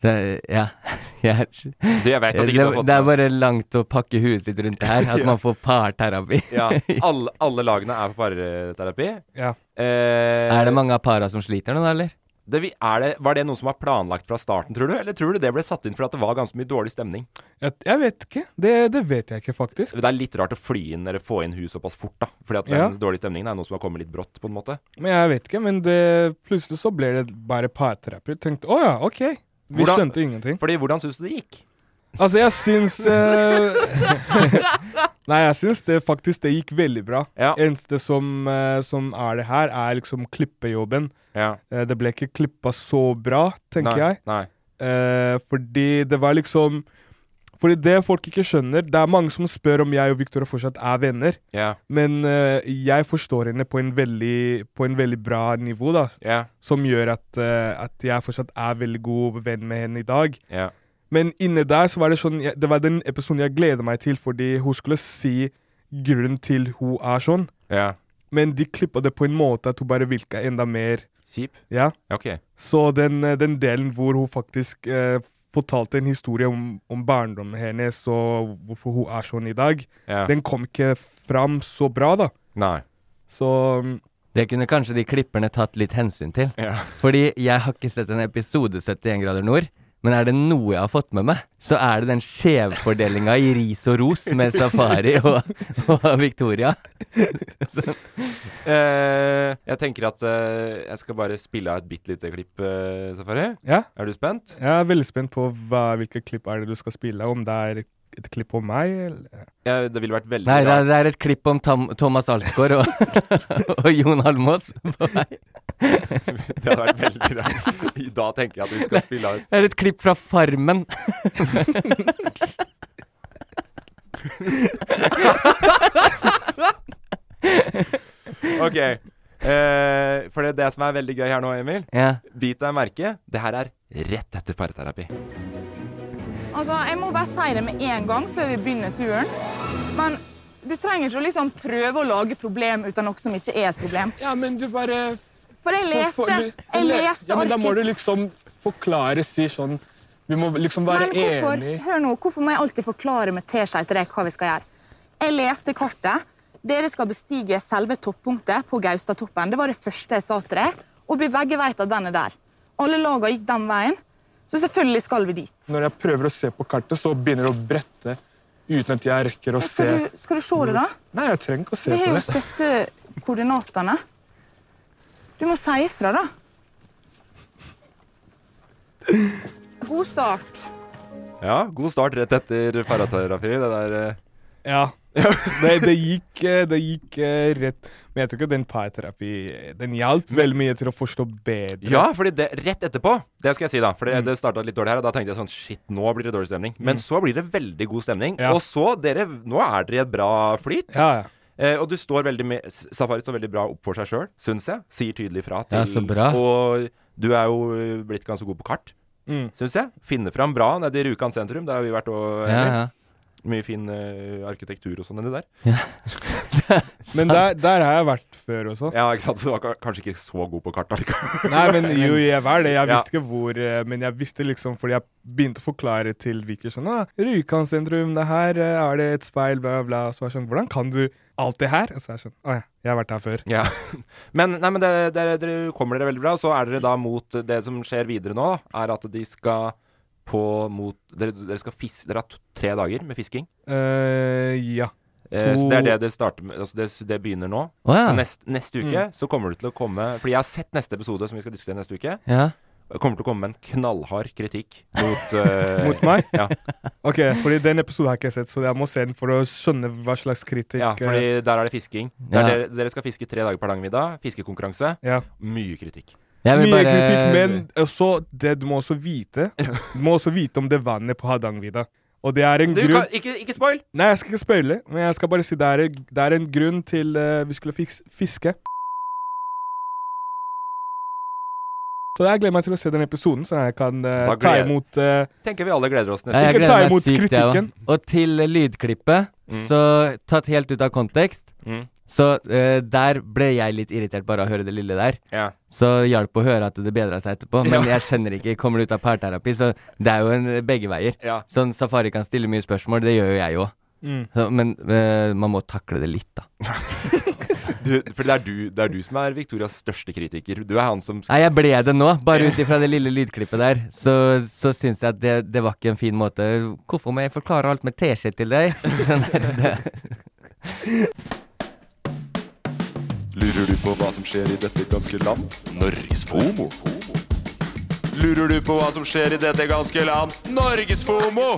Det, ja. Jeg, Du, jeg vet at ikke Eh, det, du har fått det er bare langt å pakke huet sitt rundt det her, at man får parterapi. ja, alle, alle lagene er på parterapi. ja. Eh, Er det mange av para som sliter nå, da, eller? det vi- er det, var det noe som var planlagt fra starten, tror du? Eller tror du det ble satt inn fordi at det var ganske mye dårlig stemning? Jeg, jeg vet ikke. Det, det vet jeg ikke, faktisk. Det er litt rart å fly inn eller få inn hun såpass fort, da. Fordi at Ja. den dårlige stemningen er noe som har kommet litt brått, på en måte. Men jeg vet ikke, men det, plutselig så ble det bare parterapi. Tenkte å ja, OK. Vi Hvordan- skjønte ingenting. Fordi hvordan syns du det gikk? Altså, jeg syns eh, Nei, jeg syns det faktisk det gikk veldig bra. Ja. Eneste som, eh, som er det her, er liksom klippejobben. Ja. Eh, det ble ikke klippa så bra, tenker nei, jeg. Nei. Eh, fordi det var liksom Fordi det folk ikke skjønner Det er mange som spør om jeg og Victoria fortsatt er venner. Ja. Men eh, jeg forstår henne på en veldig, på en veldig bra nivå, da. Ja. Som gjør at, eh, at jeg fortsatt er veldig god venn med henne i dag. Ja. Men inne der så var det sånn jeg- Det var den episoden jeg gleder meg til, fordi hun skulle si grunnen til hun er sånn. ja. Men de klippa det på en måte at hun bare virka enda mer Kjip. Ja. OK. Så den, eh, den delen hvor hun faktisk eh, fortalte en historie om, om barndommen hennes og hvorfor hun er sånn i dag, Ja. den kom ikke fram så bra, da. Nei. Så mm, Det kunne kanskje de klipperne tatt litt hensyn til. Ja. Fordi jeg har ikke sett en episode 71 grader nord. Men er det noe jeg har fått med meg, så er det den skjevfordelinga i ris og ros med Safari og, og Victoria. Eh, jeg tenker at eh, jeg skal bare spille av et bitte lite klipp, eh, Safari. Ja. Er du spent? Jeg er veldig spent på hva, hvilke klipp er det du skal spille, om det er et klipp om meg? Eller? Ja, det ville vært veldig Nei, det rart. er, det er et klipp om Tam Thomas Alsgaard og, og Jon Almås på vei. Det hadde vært veldig rart. I dag tenker jeg at vi skal spille av Det er et klipp fra Farmen. Ok. Eh, for det, det som er veldig gøy her nå, Emil Ja. Bit deg merke, det her er rett etter parterapi. Altså, jeg må bare si det med en gang før vi begynner turen. Men du trenger ikke å liksom prøve å lage problem ut av noe som ikke er et problem. Ja, men du bare... For jeg leste, jeg leste ja, men Da må du arket. liksom forklare, si sånn Vi må liksom være Men hvorfor, enige. hør nå, hvorfor må jeg alltid forklare med teskje til deg hva vi skal gjøre? Jeg leste kartet. Dere skal bestige selve toppunktet på Gaustatoppen. Det var det første jeg sa til deg. Og vi begge vet at den er der. Alle lagene gikk den veien, så selvfølgelig skal vi dit. Når jeg prøver å se på kartet, så begynner det å brette uten at jeg rekker å se. Skal du, skal du se det, da? Nei, jeg trenger ikke å se Vi har på jo det. støtte Eh, koordinatene. Du må si ifra, da. God start. eh, Ja, god start rett etter parterapi. Det der eh. Ja. det, det gikk, eh, det gikk eh, rett Men jeg tror ikke den parterapi Den hjalp veldig mye til å forstå bedre. Ja, fordi det, rett etterpå, det skal jeg si da, for det, det starta litt dårlig her, og da tenkte jeg sånn shit, nå blir det dårlig stemning. Men Mm. så blir det veldig god stemning. Ja. Og så, dere, nå er dere i et bra flyt. Ja, ja. Eh, og du står veldig med S- Safari står veldig bra opp for seg sjøl, syns jeg. Sier tydelig fra. Til, Ja, så bra. Og du er jo eh, blitt ganske god på kart, Mm. syns jeg. Finner fram bra nede i Rjukan sentrum, der har vi vært og Ja, Emil. ja. Mye fin eh, arkitektur og sånn nedi der. Men der, der har jeg vært før også. Ja, ikke sant. Så du var ka- kanskje ikke så god på kart allikevel. Nei, men jo, jeg var det. Jeg Ja. visste ikke hvor eh, Men jeg visste liksom fordi jeg begynte å forklare til Viker sånn ah, Rjukan sentrum, det her eh, er det et speil, bla, bla, bla. Og så var jeg sånn Hvordan kan du alt det her? Og så er jeg sånn Å ja, jeg har vært her før. Ja. Men, nei, men det, dere- dere kommer dere veldig bra. og Så er dere da mot det som skjer videre nå, da, er at de skal på mot Dere, dere skal fiske Dere har to, tre dager med fisking. Eh, ja. Eh, så To- det er det dere starter med. Altså det, det begynner nå. Å ja. Så nest, neste uke Mm. så kommer det til å komme Fordi jeg har sett neste episode, som vi skal diskutere neste uke. Ja. Det Kommer til å komme med en knallhard kritikk mot eh, Mot meg? Ja. OK, fordi den episoden har jeg ikke sett, så jeg må se den for å skjønne hva slags kritikk Ja, eh, fordi der er det fisking. Der Ja. dere, dere skal fiske tre dager per langmiddag. Fiskekonkurranse. Ja. Mye kritikk. Mye kritikk, men også det du må også vite Du må også vite om det vannet på Hardangervidda. Og det er en Du grunn kan, ikke, ikke spoil! Nei, jeg skal ikke spoile, men jeg skal bare si det er, det er en grunn til eh, vi skulle fiks, fiske. Så jeg gleder meg til å se den episoden, så jeg kan eh, ta Da gleder- imot eh, Tenker vi alle gleder oss Ja, nesten. jeg gleder meg sykt, jeg òg. Og til eh, lydklippet, Mm. så tatt helt ut av kontekst, Mm. så eh, der ble jeg litt irritert bare av å høre det lille der. Ja. Så hjalp å høre at det bedra seg etterpå. Men Ja. jeg skjønner ikke, kommer det ut av parterapi? Så det er jo en, eh, begge veier. Ja. Sånn Safari kan stille mye spørsmål, det gjør jo jeg òg. Mm. Men eh, man må takle det litt, da. Du, for det er, du, det er du som er Victorias største kritiker. Du er han som Nei, jeg ble det nå. Bare ut ifra det lille lydklippet der, så, så syns jeg at det, det var ikke en fin måte. Hvorfor må jeg forklare alt med teskje til deg? Sånn er det. Lurer du på hva som skjer i dette ganske land? Norges FOMO. Lurer du på hva som skjer i dette ganske land? Norges FOMO!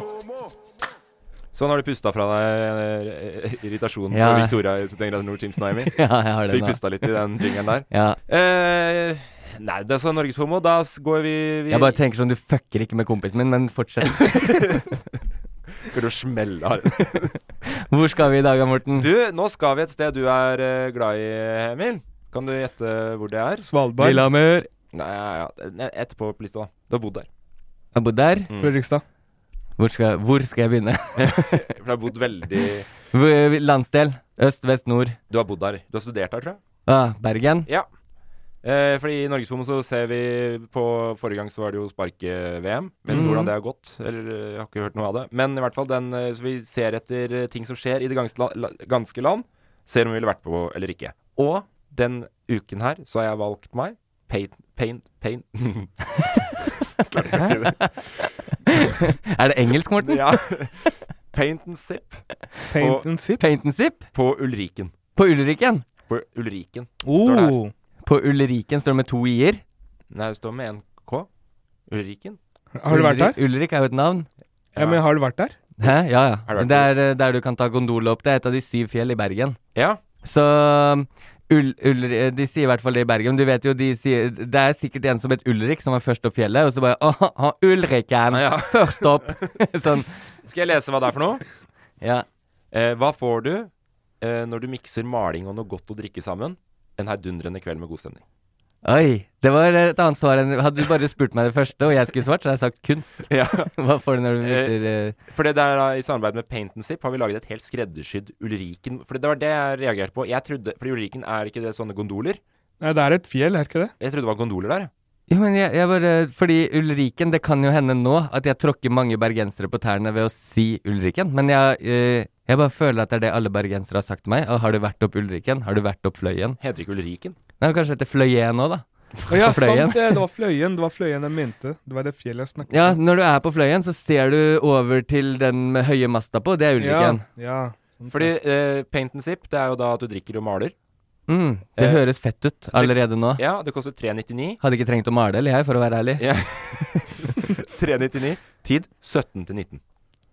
Sånn har du pusta fra deg eh, irritasjonen på Ja. Victoria i 71 grader nord Teams Naimi. Ja, jeg har det Fikk nå. pusta litt i den fingeren der. Ja. Eh, nei, det er sånn Norges homo. Da s- går vi, vi Jeg bare tenker sånn, du fucker ikke med kompisen min, men fortsett. Skal du smelle her? Hvor skal vi i dag, Morten? Du, nå skal vi et sted du er eh, glad i, Emil. Kan du gjette hvor det er? Svalbard. Lillehammer. Nei, ja, ja. Etterpå på lista, da. Du har bodd der. Jeg har bodd der. Mm. Fredrikstad. Hvor skal, hvor skal jeg begynne? For du har bodd veldig Hvor- Landsdel. Øst, vest, nord. Du har bodd der. Du har studert der, tror jeg. Ah, Bergen. Ja. Eh, fordi i Norgesfomo så ser vi på Forrige gang så var det jo sparke-VM. Vet ikke Mhm. hvordan det har gått. Eller eh, jeg har ikke hørt noe av det. Men i hvert fall den eh, Så vi ser etter eh, ting som skjer i det ganske, la- la- ganske land. Ser om vi ville vært på eller ikke. Og den uken her så har jeg valgt meg Paint Paint Paint Klarer ikke å si det. Er det engelsk, Morten? Ja. Paint and Sip. Paint På- and sip. Paint and sip? På Ulriken. På Ulriken? På Ulriken. Oh. På Ulriken står det med to i-er. Nei, det står med en K. Ulriken. Har du vært der? Ulrik er jo et navn. Ja, men har du vært der? Hæ? Ja, ja. Har du vært Det er eh, der du kan ta gondol opp. Det er et av de syv fjell i Bergen. Ja. Så Ul Ulri- eh, de sier i hvert fall det i Bergen. Du vet jo, de sier, Det er sikkert en som het Ulrik, som var først opp fjellet. Og så bare Åh, han Ulriken! Først opp! sånn. Skal jeg lese hva det er for noe? ja. Eh, hva får du eh, når du mikser maling og noe godt å drikke sammen? En heidundrende kveld med god stemning. Oi. Det var et annet svar enn Hadde du bare spurt meg det første, og jeg skulle svart, så hadde jeg sagt kunst. Hva får du når du viser eh, For det der da, I samarbeid med Paint and Sip har vi laget et helt skreddersydd Ulriken. For det var det jeg reagerte på. Jeg trodde, fordi Ulriken er ikke det sånne gondoler? Nei, det er et fjell, er ikke det? Jeg trodde det var gondoler der. jeg. Jo, men jeg, jeg bare Fordi Ulriken, det kan jo hende nå at jeg tråkker mange bergensere på tærne ved å si Ulriken, men jeg, eh, jeg bare føler at det er det alle bergensere har sagt til meg. «Å, Har du vært opp Ulriken? Har du vært opp Fløyen? Heter ikke Ulriken? Nei, kanskje det heter Fløyen nå, da. Å ja, På Fløyen. sant eh, det! Det var Fløyen det var fløyen jeg mente. Det var det fjellet jeg snakket Ja, når du er på Fløyen, så ser du over til den med høye masta på, det er Ulriken. Ja, sant Fordi eh, Paint and Sip, det er jo da at du drikker og maler. Mm, det Eh, høres fett ut allerede nå. Ja, det koster 399. Hadde ikke trengt å male, eller jeg, for å være ærlig. Ja. 399. Tid 17 til 19.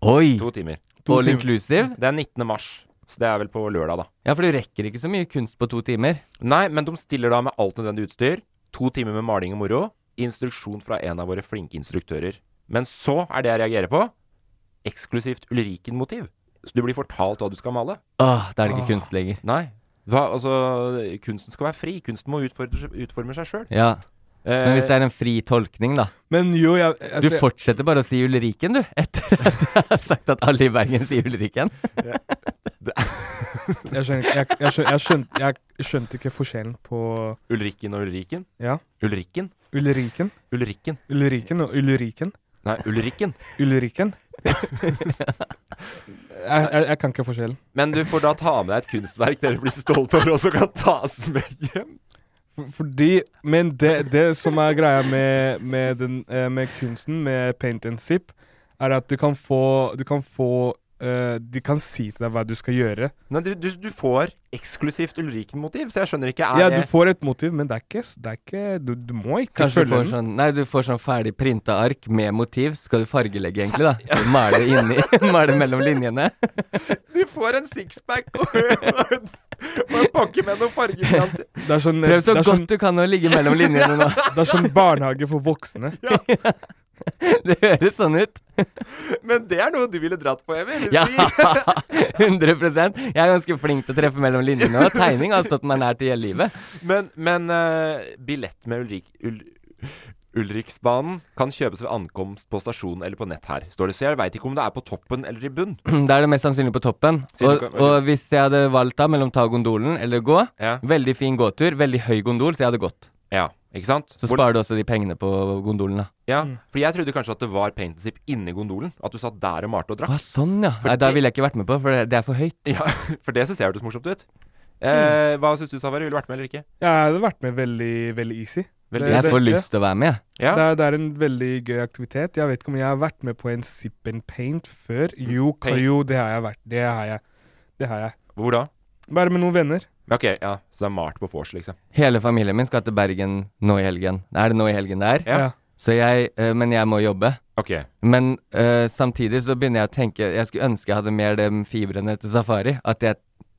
Oi! To timer. To All timer. inclusive? Det er 19. mars. Så det er vel på lørdag, da. Ja, for du rekker ikke så mye kunst på to timer. Nei, men de stiller da med alt nødvendig utstyr. To timer med maling og moro. Instruksjon fra en av våre flinke instruktører. Men så er det jeg reagerer på, eksklusivt Ulriken-motiv. Så du blir fortalt hva du skal male. Åh, da er Ah, det ikke Ah. kunst lenger. Nei. Hva, altså, kunsten skal være fri. Kunsten må utfordre, utforme seg Eh, sjøl. Ja. Men hvis det er en fri tolkning, da. Men jo, jeg, jeg Du fortsetter bare å si Ulriken, du. Etter at du har sagt at alle i Bergen sier Ulriken. Jeg skjønte, jeg, jeg, skjønte, jeg, skjønte, jeg skjønte ikke forskjellen på Ulriken og Ulriken. Ja. Ulriken. Ulriken. Ulriken. Ulriken og Ulriken. Nei, Ulriken. Ulriken. jeg, jeg, jeg kan ikke forskjellen. Men du får da ta med deg et kunstverk dere blir stolte over, og som kan tas med hjem. For- Fordi Men det, det som er greia med, med, den, eh, med kunsten, med paint and sip, er at du kan få, du kan få eh, De kan si til deg hva du skal gjøre. Nei, du, du, du får eksklusivt Ulriken-motiv, så jeg skjønner ikke er Ja, du det får et motiv, men det er ikke, det er ikke du, du må ikke Kanskje du følge får den. sånn Nei, du får sånn ferdig printa ark med motiv. Skal du fargelegge, egentlig, da? Male inni. Male mellom linjene. Du får en sixpack og, og en og en pakke med noen fargekranter. Det er sånn, Prøv så det er sånn, godt du kan å ligge mellom linjene nå. Det er sånn barnehage for voksne. Det høres sånn ut. Men det er noe du ville dratt på, Emil. Ja, Ja. 100 Jeg er ganske flink til å treffe mellom linjene, og tegning har stått meg nært i hele livet. Men, men eh, billett med Ulrik, Ul, Ulriksbanen kan kjøpes ved ankomst på stasjonen eller på nett her, står det. Så jeg veit ikke om det er på toppen eller i bunn. Da er det mest sannsynlig på toppen. Siden Og, du kan- og hvis jeg hadde valgt da mellom ta gondolen eller gå, Ja. veldig fin gåtur, veldig høy gondol, så jeg hadde gått. Ja, ikke sant? Så Hvor- sparer du også de pengene på gondolen, da. Ja, for jeg trodde kanskje at det var paint and sip inni gondolen. At du satt der og malte og Ah, drakk. sånn, ja. Nei, da det- ville jeg ikke vært med på, for det- det er for høyt. Ja, For det syns jeg hørtes morsomt ut. Eh, hva syns du, Savari? Ville du vært med eller ikke? Jeg hadde vært med veldig, veldig easy. Veldig Jeg får ja. lyst til å være med, jeg. Ja. Det, er, det er en veldig gøy aktivitet. Jeg vet ikke om jeg har vært med på en sip and paint før. Jo, ka- Paint. jo det har jeg vært. Det har jeg. Det har jeg. Hvor da? Bare med noen venner. Eh, Men Ok, ja. Så det er malt på vors, liksom. Hele familien min skal til Bergen nå i helgen. Er det nå i helgen det er? Ja. Ja. Så jeg, eh, men jeg må jobbe. Ok. Men eh, samtidig så begynner jeg å tenke Jeg skulle ønske jeg hadde mer de fibrene til safari. At jeg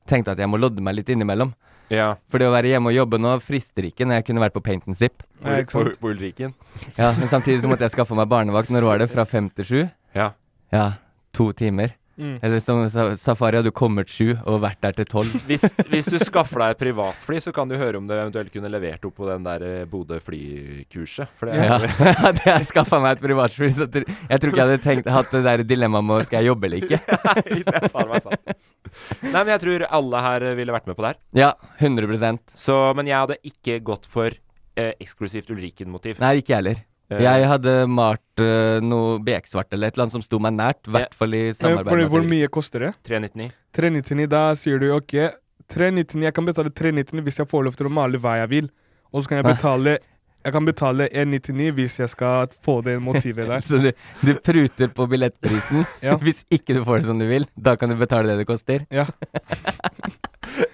tenkte at jeg må lodde meg litt innimellom. Ja. For det å være hjemme og jobbe nå frister ikke når jeg kunne vært på paint and zip. Ja, ikke På, sant? på Ulriken. Ja, men samtidig så måtte jeg skaffe meg barnevakt. Når var det? Fra fem til sju? Ja. Ja, to timer. Eller som sa- safari hadde jo kommet sju og vært der til tolv. Hvis, hvis du skaffer deg et privatfly, så kan du høre om du eventuelt kunne levert opp på den der eh, Bodø flykurset. For det er Ja. Hadde jeg skaffa meg et privatfly, så tr jeg tror ikke jeg hadde tenkt, hatt det der dilemmaet med skal jeg jobbe eller ikke. Nei, det er faen meg sant. Nei, men jeg tror alle her eh, ville vært med på det her. Ja, 100 Så, men jeg hadde ikke gått for eh, eksklusivt Ulriken-motiv. Nei, ikke jeg heller. Eh, Jeg hadde malt eh, noe beksvart eller et eller annet som sto meg nært. I hvert fall i Men samarbeid For med hvor Fredrik. mye koster det? 399. 399, da sier du ok, 399, jeg kan betale 399 hvis jeg får lov til å male hva jeg vil. Og så kan jeg betale jeg kan betale 199 hvis jeg skal få det motivet der. Så du, du pruter på billettprisen. Ja. Hvis ikke du får det som du vil, da kan du betale det det koster. Ja.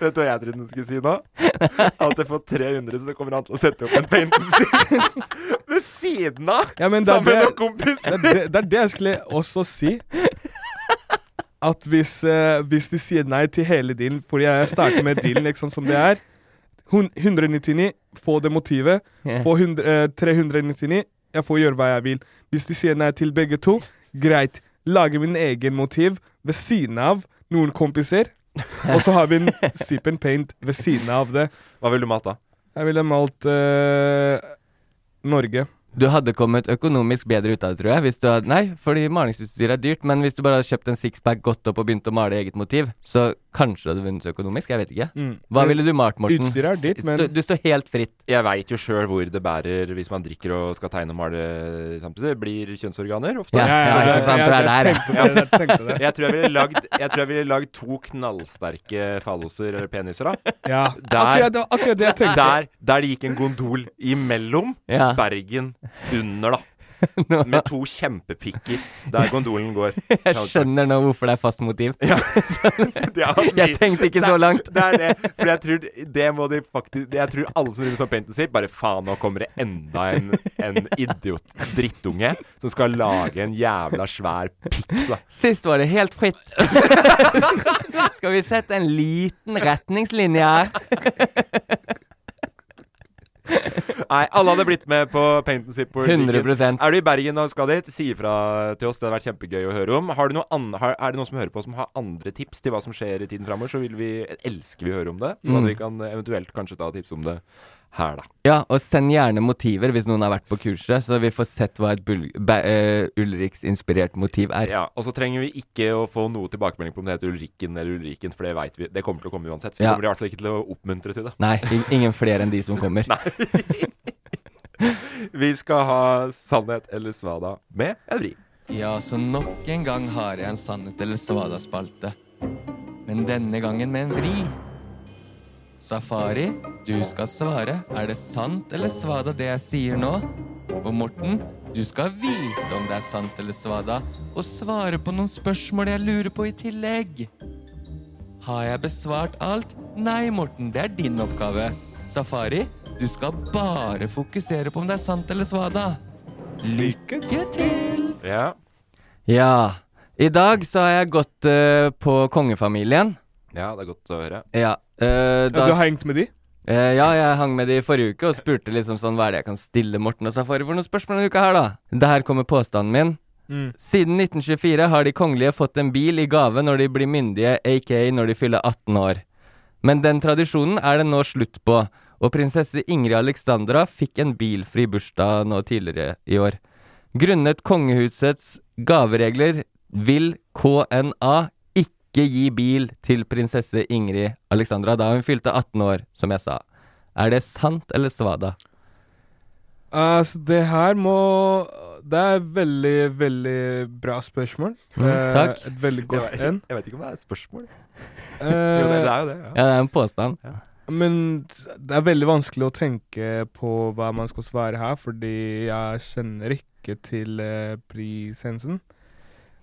Vet du hva jeg trodde den skulle si nå? At jeg får 300, så kommer han til å sette opp en painting ved siden av! Ja, men det er sammen med det- noen Det, kompiser! er det, det er det jeg skulle også si. at hvis, eh, hvis de sier nei til hele dealen, for jeg starter med dealen ikke sant, som det er hun- 199, få det motivet. Ja. Få hund- eh, 399, jeg får gjøre hva jeg vil. Hvis de sier nei til begge to, greit. Lager min egen motiv ved siden av noen kompiser. Og så har vi en sip and paint ved siden av det. Hva ville du malt da? Jeg ville malt eh, Norge. Du hadde kommet økonomisk bedre ut av det, tror jeg. Hvis du hadde, nei, fordi malingsutstyr er dyrt, men hvis du bare hadde kjøpt en sixpack godt opp og begynt å male eget motiv, så kanskje du hadde vunnet økonomisk. Jeg vet ikke. Mm. Hva ville du malt, Morten? Utstyret er dyrt, men- Du, du står helt fritt. Jeg veit jo sjøl hvor det bærer hvis man drikker og skal tegne og male samtidig. Det blir kjønnsorganer ofte. Ja, ja, ja, ja, ikke sant, ja, det er jeg der, tenkte ja. det, jeg tenkte det. Jeg tror jeg ville lagd- jeg tror jeg ville lagd to knallsterke falloser, eller peniser, da. Ja, Der, akkurat, det var akkurat det jeg tenkte. Der, der det gikk en gondol imellom Ja. Bergen under, da. Med to kjempepikker der gondolen går. Jeg skjønner nå hvorfor det er fast motiv. Det er mye- Jeg tenkte ikke Det så er- langt. Det er det. For jeg tror det må de faktisk Jeg tror alle som driver sånn paintency, bare faen, nå kommer det enda en, en idiot drittunge som skal lage en jævla svær pikk, da. Sist var det helt fritt. Skal vi sette en liten retningslinje her? Nei, alle hadde blitt med på paintency på 100%. Er du i Bergen og skal dit, si ifra til oss. Det hadde vært kjempegøy å høre om. Har du noe an har, er det noen som hører på som har andre tips til hva som skjer i tiden framover, så vil vi, elsker vi å høre om det. Sånn Mm. at vi kan eventuelt kanskje ta tips om det her, da. Ja, og send gjerne motiver hvis noen har vært på kurset, så vi får sett hva et bul be- eh, Ulriks-inspirert motiv er. Ja, og så trenger vi ikke å få noe tilbakemelding på om det heter Ulrikken eller Ulriken, for det vet vi. Det kommer til å komme uansett. Så vi Ja. kommer i hvert fall ikke til å oppmuntre til det. Nei, in- ingen flere enn de som kommer. Vi skal ha Sannhet eller svada med en vri. Ja, så nok en gang har jeg en sannhet eller svada-spalte. Men denne gangen med en vri. Safari, du skal svare. Er det sant eller svada det jeg sier nå? Og Morten, du skal vite om det er sant eller svada, og svare på noen spørsmål jeg lurer på i tillegg. Har jeg besvart alt? Nei, Morten, det er din oppgave. Safari, du skal bare fokusere på om det er sant eller svada. Lykke til! Ja. Ja. I dag så har jeg gått eh, på kongefamilien. ja, det er godt å høre. Ja. eh, Ja, du har s- hengt med de? Eh, ja, jeg hang med de i forrige uke og spurte liksom sånn hva er det jeg kan stille Morten og Safari for noen spørsmål denne uka her, da. Det her kommer påstanden min. Mm. Siden 1924 har de kongelige fått en bil i gave når de blir myndige, aka når de fyller 18 år. Men den tradisjonen er det nå slutt på, og prinsesse Ingrid Alexandra fikk en bilfri bursdag nå tidligere i år. Grunnet kongehusets gaveregler vil KNA ikke gi bil til prinsesse Ingrid Alexandra da hun fylte 18 år, som jeg sa. Er det sant eller svada? Altså, det her må Det er veldig, veldig bra spørsmål. Mm, Eh, takk. Et veldig godt Jeg en. vet- Jeg vet ikke om det er et spørsmål. Eh, jo, det, det er jo det. Ja, det er en påstand. Men det er veldig vanskelig å tenke på hva man skal svare her, fordi jeg kjenner ikke til eh, prisensen.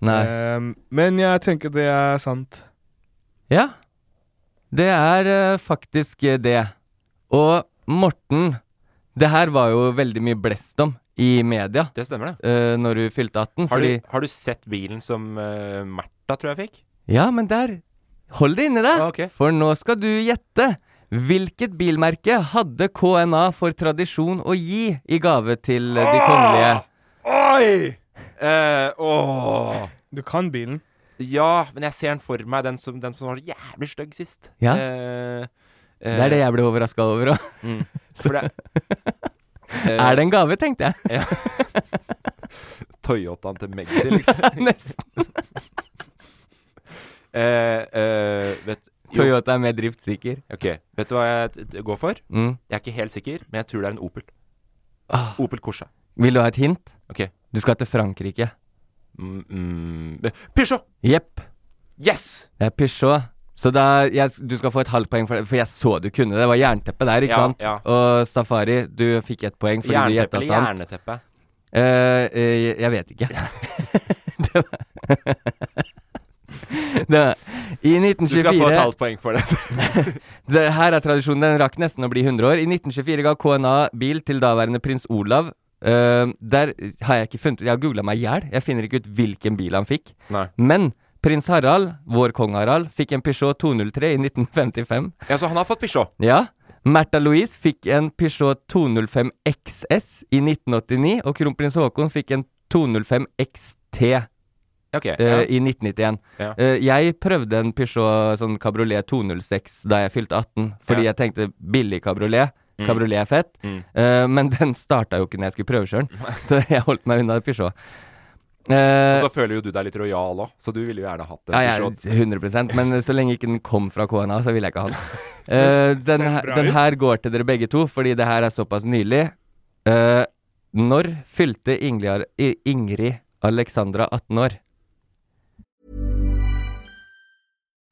Nei. Eh, men jeg tenker det er sant. Ja, det er eh, faktisk eh, det. Og Morten, det her var jo veldig mye blest om i media. Det stemmer, det. Uh, når hun fylte 18. Har du, fordi har du sett bilen som eh, Märtha, tror jeg, fikk? Ja, men der Hold det inni deg, Ah, for nå skal du gjette. Hvilket bilmerke hadde KNA for tradisjon å gi i gave til eh, Ah! de kongelige? Oi! Eh, åh. Du kan bilen. Ja, men jeg ser den for meg, den som, den som var jævlig stygg sist. Ja. Eh, Det eh, er det jeg ble overraska over òg. Mm. For det- Er det en gave, tenkte jeg. Eh, Toyotaen til Magdi, liksom. Nesten. eh, eh, vet, jo. Toyota er mer driftssikker. Ok, vet du hva jeg t- t- går for? Mm. Jeg er ikke helt sikker, men jeg tror det er en Opel. Ah. Opel Corsa. Vil du ha et hint? Ok. Du skal til Frankrike. Mm, mm, Peugeot! Jepp. Yes! Det er Peugeot. Så da, jeg, du skal få et halvt poeng for det, for jeg så du kunne det. Det var jernteppe der, ikke Ja, sant? ja. Og Safari, du fikk ett poeng fordi du gjetta Jernteppe eller sant. jerneteppe? Eh, eh, jeg- jeg vet ikke. det var det var I 1924 Du skal få et halvt poeng for det. det her er tradisjonen. Den rakk nesten å bli 100 år. I 1924 ga KNA bil til daværende prins Olav. Eh, der har jeg ikke funnet Jeg har googla meg i hjel. Jeg finner ikke ut hvilken bil han fikk. Nei. Men Prins Harald, vår kong Harald, fikk en Peugeot 203 i 1955. Ja, Så han har fått Peugeot? Ja. Märtha Louise fikk en Peugeot 205 XS i 1989, og kronprins Haakon fikk en 205 XT Ok, eh, ja. i 1991. Ja. Eh, jeg prøvde en Peugeot sånn kabriolet 206 da jeg fylte 18, fordi Ja. jeg tenkte billig kabriolet. Mm. Kabriolet er fett, Mm. Eh, men den starta jo ikke når jeg skulle prøve sjøl, så jeg holdt meg unna Peugeot. Eh, Og så føler jo du deg litt rojal òg, så du ville jo gjerne hatt en ja, jeg Peugeot. er 100 men så lenge ikke den kom fra KNA, så vil jeg ikke ha den. Eh, den, Ser her, bra den ut. her går til dere begge to, fordi det her er såpass nylig. Eh, når fylte Ingrid, I- Ingrid Alexandra 18 år?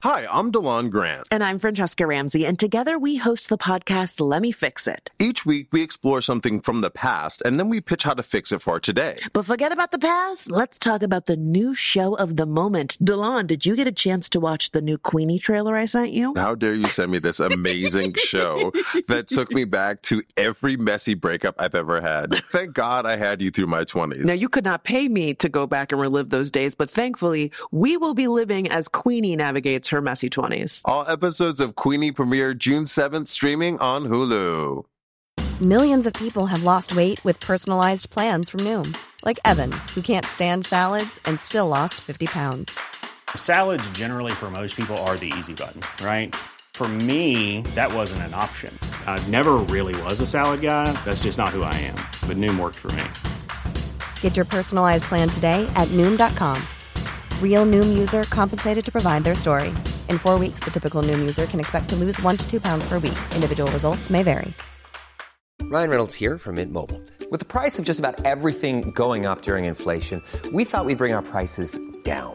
Hi, I'm DeLon Grant. And I'm Francesca Ramsey, and together we host the podcast Let Me Fix It. Each week, we explore something from the past and then we pitch how to fix it for today. But forget about the past. Let's talk about the new show of the moment. DeLon, did you get a chance to watch the new Queenie trailer I sent you? How dare you send me this amazing show that took me back to every messy breakup I've ever had? Thank God I had you through my 20s. Now, you could not pay me to go back and relive those days, but thankfully, we will be living as Queenie navigates her messy 20s. All episodes of Queenie premiere June 7th, streaming on Hulu. Millions of people have lost weight with personalized plans from Noom, like Evan, who can't stand salads and still lost 50 pounds. Salads, generally, for most people, are the easy button, right? For me, that wasn't an option. I never really was a salad guy. That's just not who I am. But Noom worked for me. Get your personalized plan today at Noom.com. Real Noom user compensated to provide their story. In four weeks, the typical Noom user can expect to lose one to two pounds per week. Individual results may vary. Ryan Reynolds here from Mint Mobile. With the price of just about everything going up during inflation, we thought we'd bring our prices down.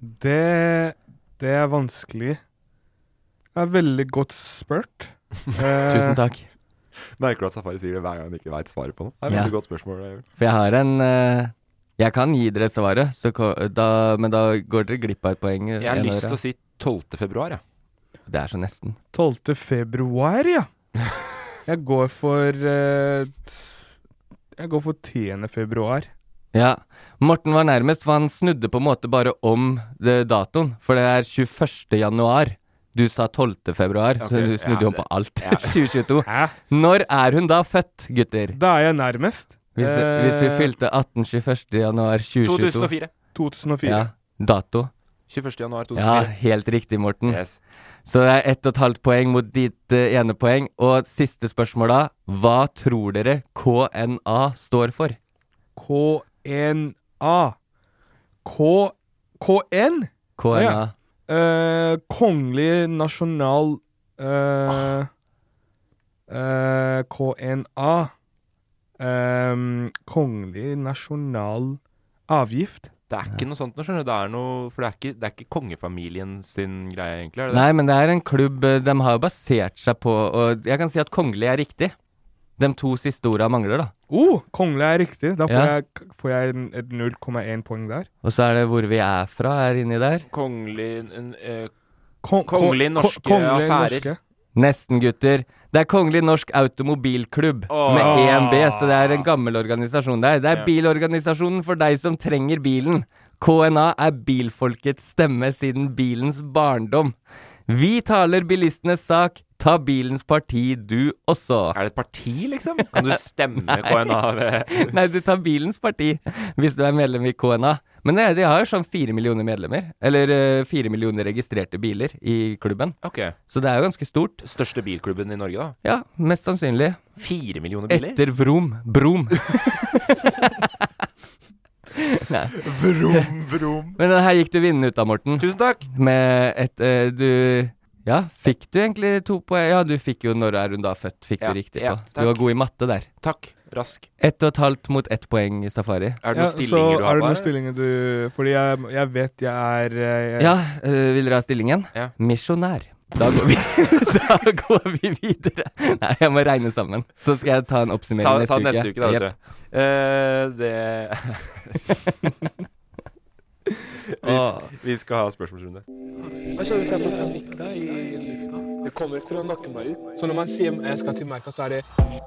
Det Det er vanskelig. Det er veldig godt spurt. Eh, Eh, Tusen takk. Merker du at Safari sier det hver gang han ikke veit svaret på noe? Det er et Ja. veldig godt spørsmål. det er jo. For jeg har en eh, Jeg kan gi dere svaret, så, ko- da, men da går dere glipp av et poeng. Jeg har lyst til å si 12. februar, jeg. Det er så nesten. 12. februar, ja. Jeg går for eh, t- Jeg går for 10. februar. Ja. Morten var nærmest, for han snudde på en måte bare om det, datoen. For det er 21. januar. Du sa 12. februar, Ok, så du ja, snudde jo om det- på alt. ja. 2022. Når er hun da født, gutter? Da er jeg nærmest. Hvis, Eh, hvis hun fylte 18 21. januar 2022 2004. 2004. Ja, dato. 21. januar Ja, 2004. helt riktig, Morten. Så det er ett og et halvt poeng mot ditt eh, ene poeng. Og siste spørsmål da. Hva tror dere KNA står for? KNA. K... KN? KNA. Ja. Eh, Kongelig nasjonal eh, eh, KNA. Ehm, kongelig nasjonal avgift. Det er ikke noe sånt nå, skjønner du. Det er noe For det er ikke, det er ikke kongefamilien sin greie, egentlig. Er det det? Nei, men det er en klubb eh, de har jo basert seg på Og jeg kan si at kongelig er riktig. De to siste orda mangler, da. Oh, kongelig er riktig. Da får Ja. jeg, får jeg en- et 0,1 poeng der. Og så er det hvor vi er fra, er inni der. Kongelig en, eh, Kon- Kongelig kon- norske kongelig affærer. norske. Nesten, gutter. Det er Kongelig Norsk Automobilklubb med ENB, så det er en gammel organisasjon der. Det er Ja. bilorganisasjonen for deg som trenger bilen. KNA er bilfolkets stemme siden bilens barndom. Vi taler bilistenes sak. Ta bilens parti, du også. Er det et parti, liksom? Kan du stemme KNA? Nei, du tar bilens parti hvis du er medlem i KNA. Men det, de har jo sånn fire millioner medlemmer. Eller eh, fire millioner registrerte biler i klubben. Ok. Så det er jo ganske stort. Største bilklubben i Norge, da? Ja, mest sannsynlig. Fire millioner biler? Etter Vrom. Brom. Nei. Vrom, vrom. Men den her gikk du vinnende ut av, Morten. Tusen takk. Med et eh, Du Ja, fikk du egentlig to poeng? Ja, du fikk jo 'Når er hun da født', fikk Ja, du riktig ja, på. takk. Du var god i matte der. Takk. Rask. Ett og et halvt mot ett poeng i Safari. Er Ja, så er det noen stillinger du Fordi jeg, jeg vet jeg er eh, jeg, Ja, øh, vil dere ha stillingen? Ja. Misjonær. Da går, vi, da går vi videre. Nei, jeg må regne sammen. Så skal jeg ta en oppsummering Ta, neste ta uke. neste uke, da, vet Jep. du. Eh, det Åh. vi, vi skal ha spørsmålsrunde. Hva skjer hvis jeg får panikk da i lufta? Det kommer ikke til å nakke meg ut. Så når man sier jeg skal til merka, så er det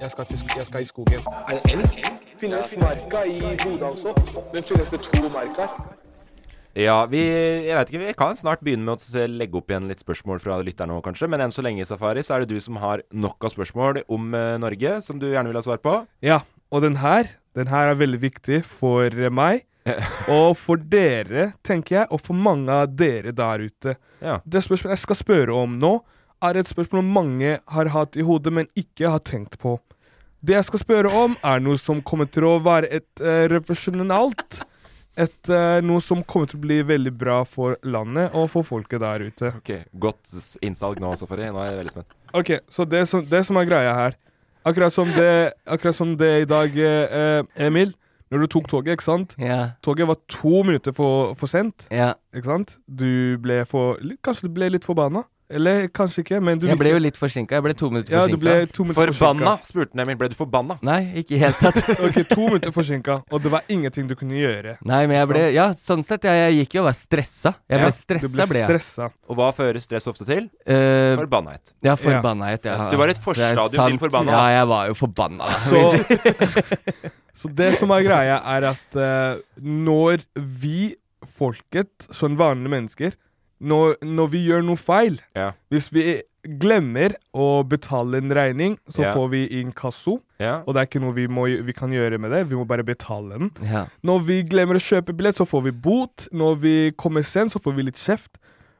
jeg skal, til, sk- jeg skal i skogen. Er det elg? Finnes merka i Bodø også? Men finnes det to merker? Ja, vi, jeg vet ikke, vi kan snart begynne med å s- legge opp igjen litt spørsmål fra lytterne òg, kanskje. Men enn så lenge, Safari, så er det du som har nok av spørsmål om eh, Norge, som du gjerne vil ha svar på. Ja, og den her, den her er veldig viktig for eh, meg, og for dere, tenker jeg, og for mange av dere der ute. Ja. Det spørsmålet jeg skal spørre om nå, er et spørsmål mange har hatt i hodet, men ikke har tenkt på. Det jeg skal spørre om, er noe som kommer til å være et uh, revolusjonalt et, eh, Noe som kommer til å bli veldig bra for landet og for folket der ute. Ok, Godt s- innsalg nå, Safari. Nå er jeg veldig spent. Ok, så det som, det som er greia her Akkurat som det, akkurat som det i dag, eh, eh, Emil Når du tok toget, ikke sant? Ja. Toget var to minutter for, for sent Ja. Ikke sant? Du ble for, litt- kanskje du ble litt forbanna Eller kanskje ikke men du Jeg ble visste- jo litt forsinka. Jeg ble to minutter Ja, forsinka. du ble to minutter Forbanna, forsinket. spurte han Emil. Ble du forbanna? Nei, ikke i det hele tatt. Ok, to minutter forsinka Og det var ingenting du kunne gjøre Nei, men jeg ble Sant? Ja, sånn sett. Jeg, jeg gikk jo og var stressa. Jeg ble stressa, ble, jeg. Og hva fører stress ofte til? Eh, Forbannahet. Ja, forbannahet. Ja. Altså, Så du var et Det er forstadium til sant. forbanna. Ja, jeg var jo forbanna. Så, så det som er greia, er at eh, når vi, folket, sånn vanlige mennesker, når, når vi gjør noe feil Ja. Hvis vi glemmer å betale en regning, så Ja. får vi inkasso. Ja. Og det er ikke noe vi, må, vi kan gjøre med det. Vi må bare betale den. Ja. Når vi glemmer å kjøpe billett, så får vi bot. Når vi kommer sent, så får vi litt kjeft.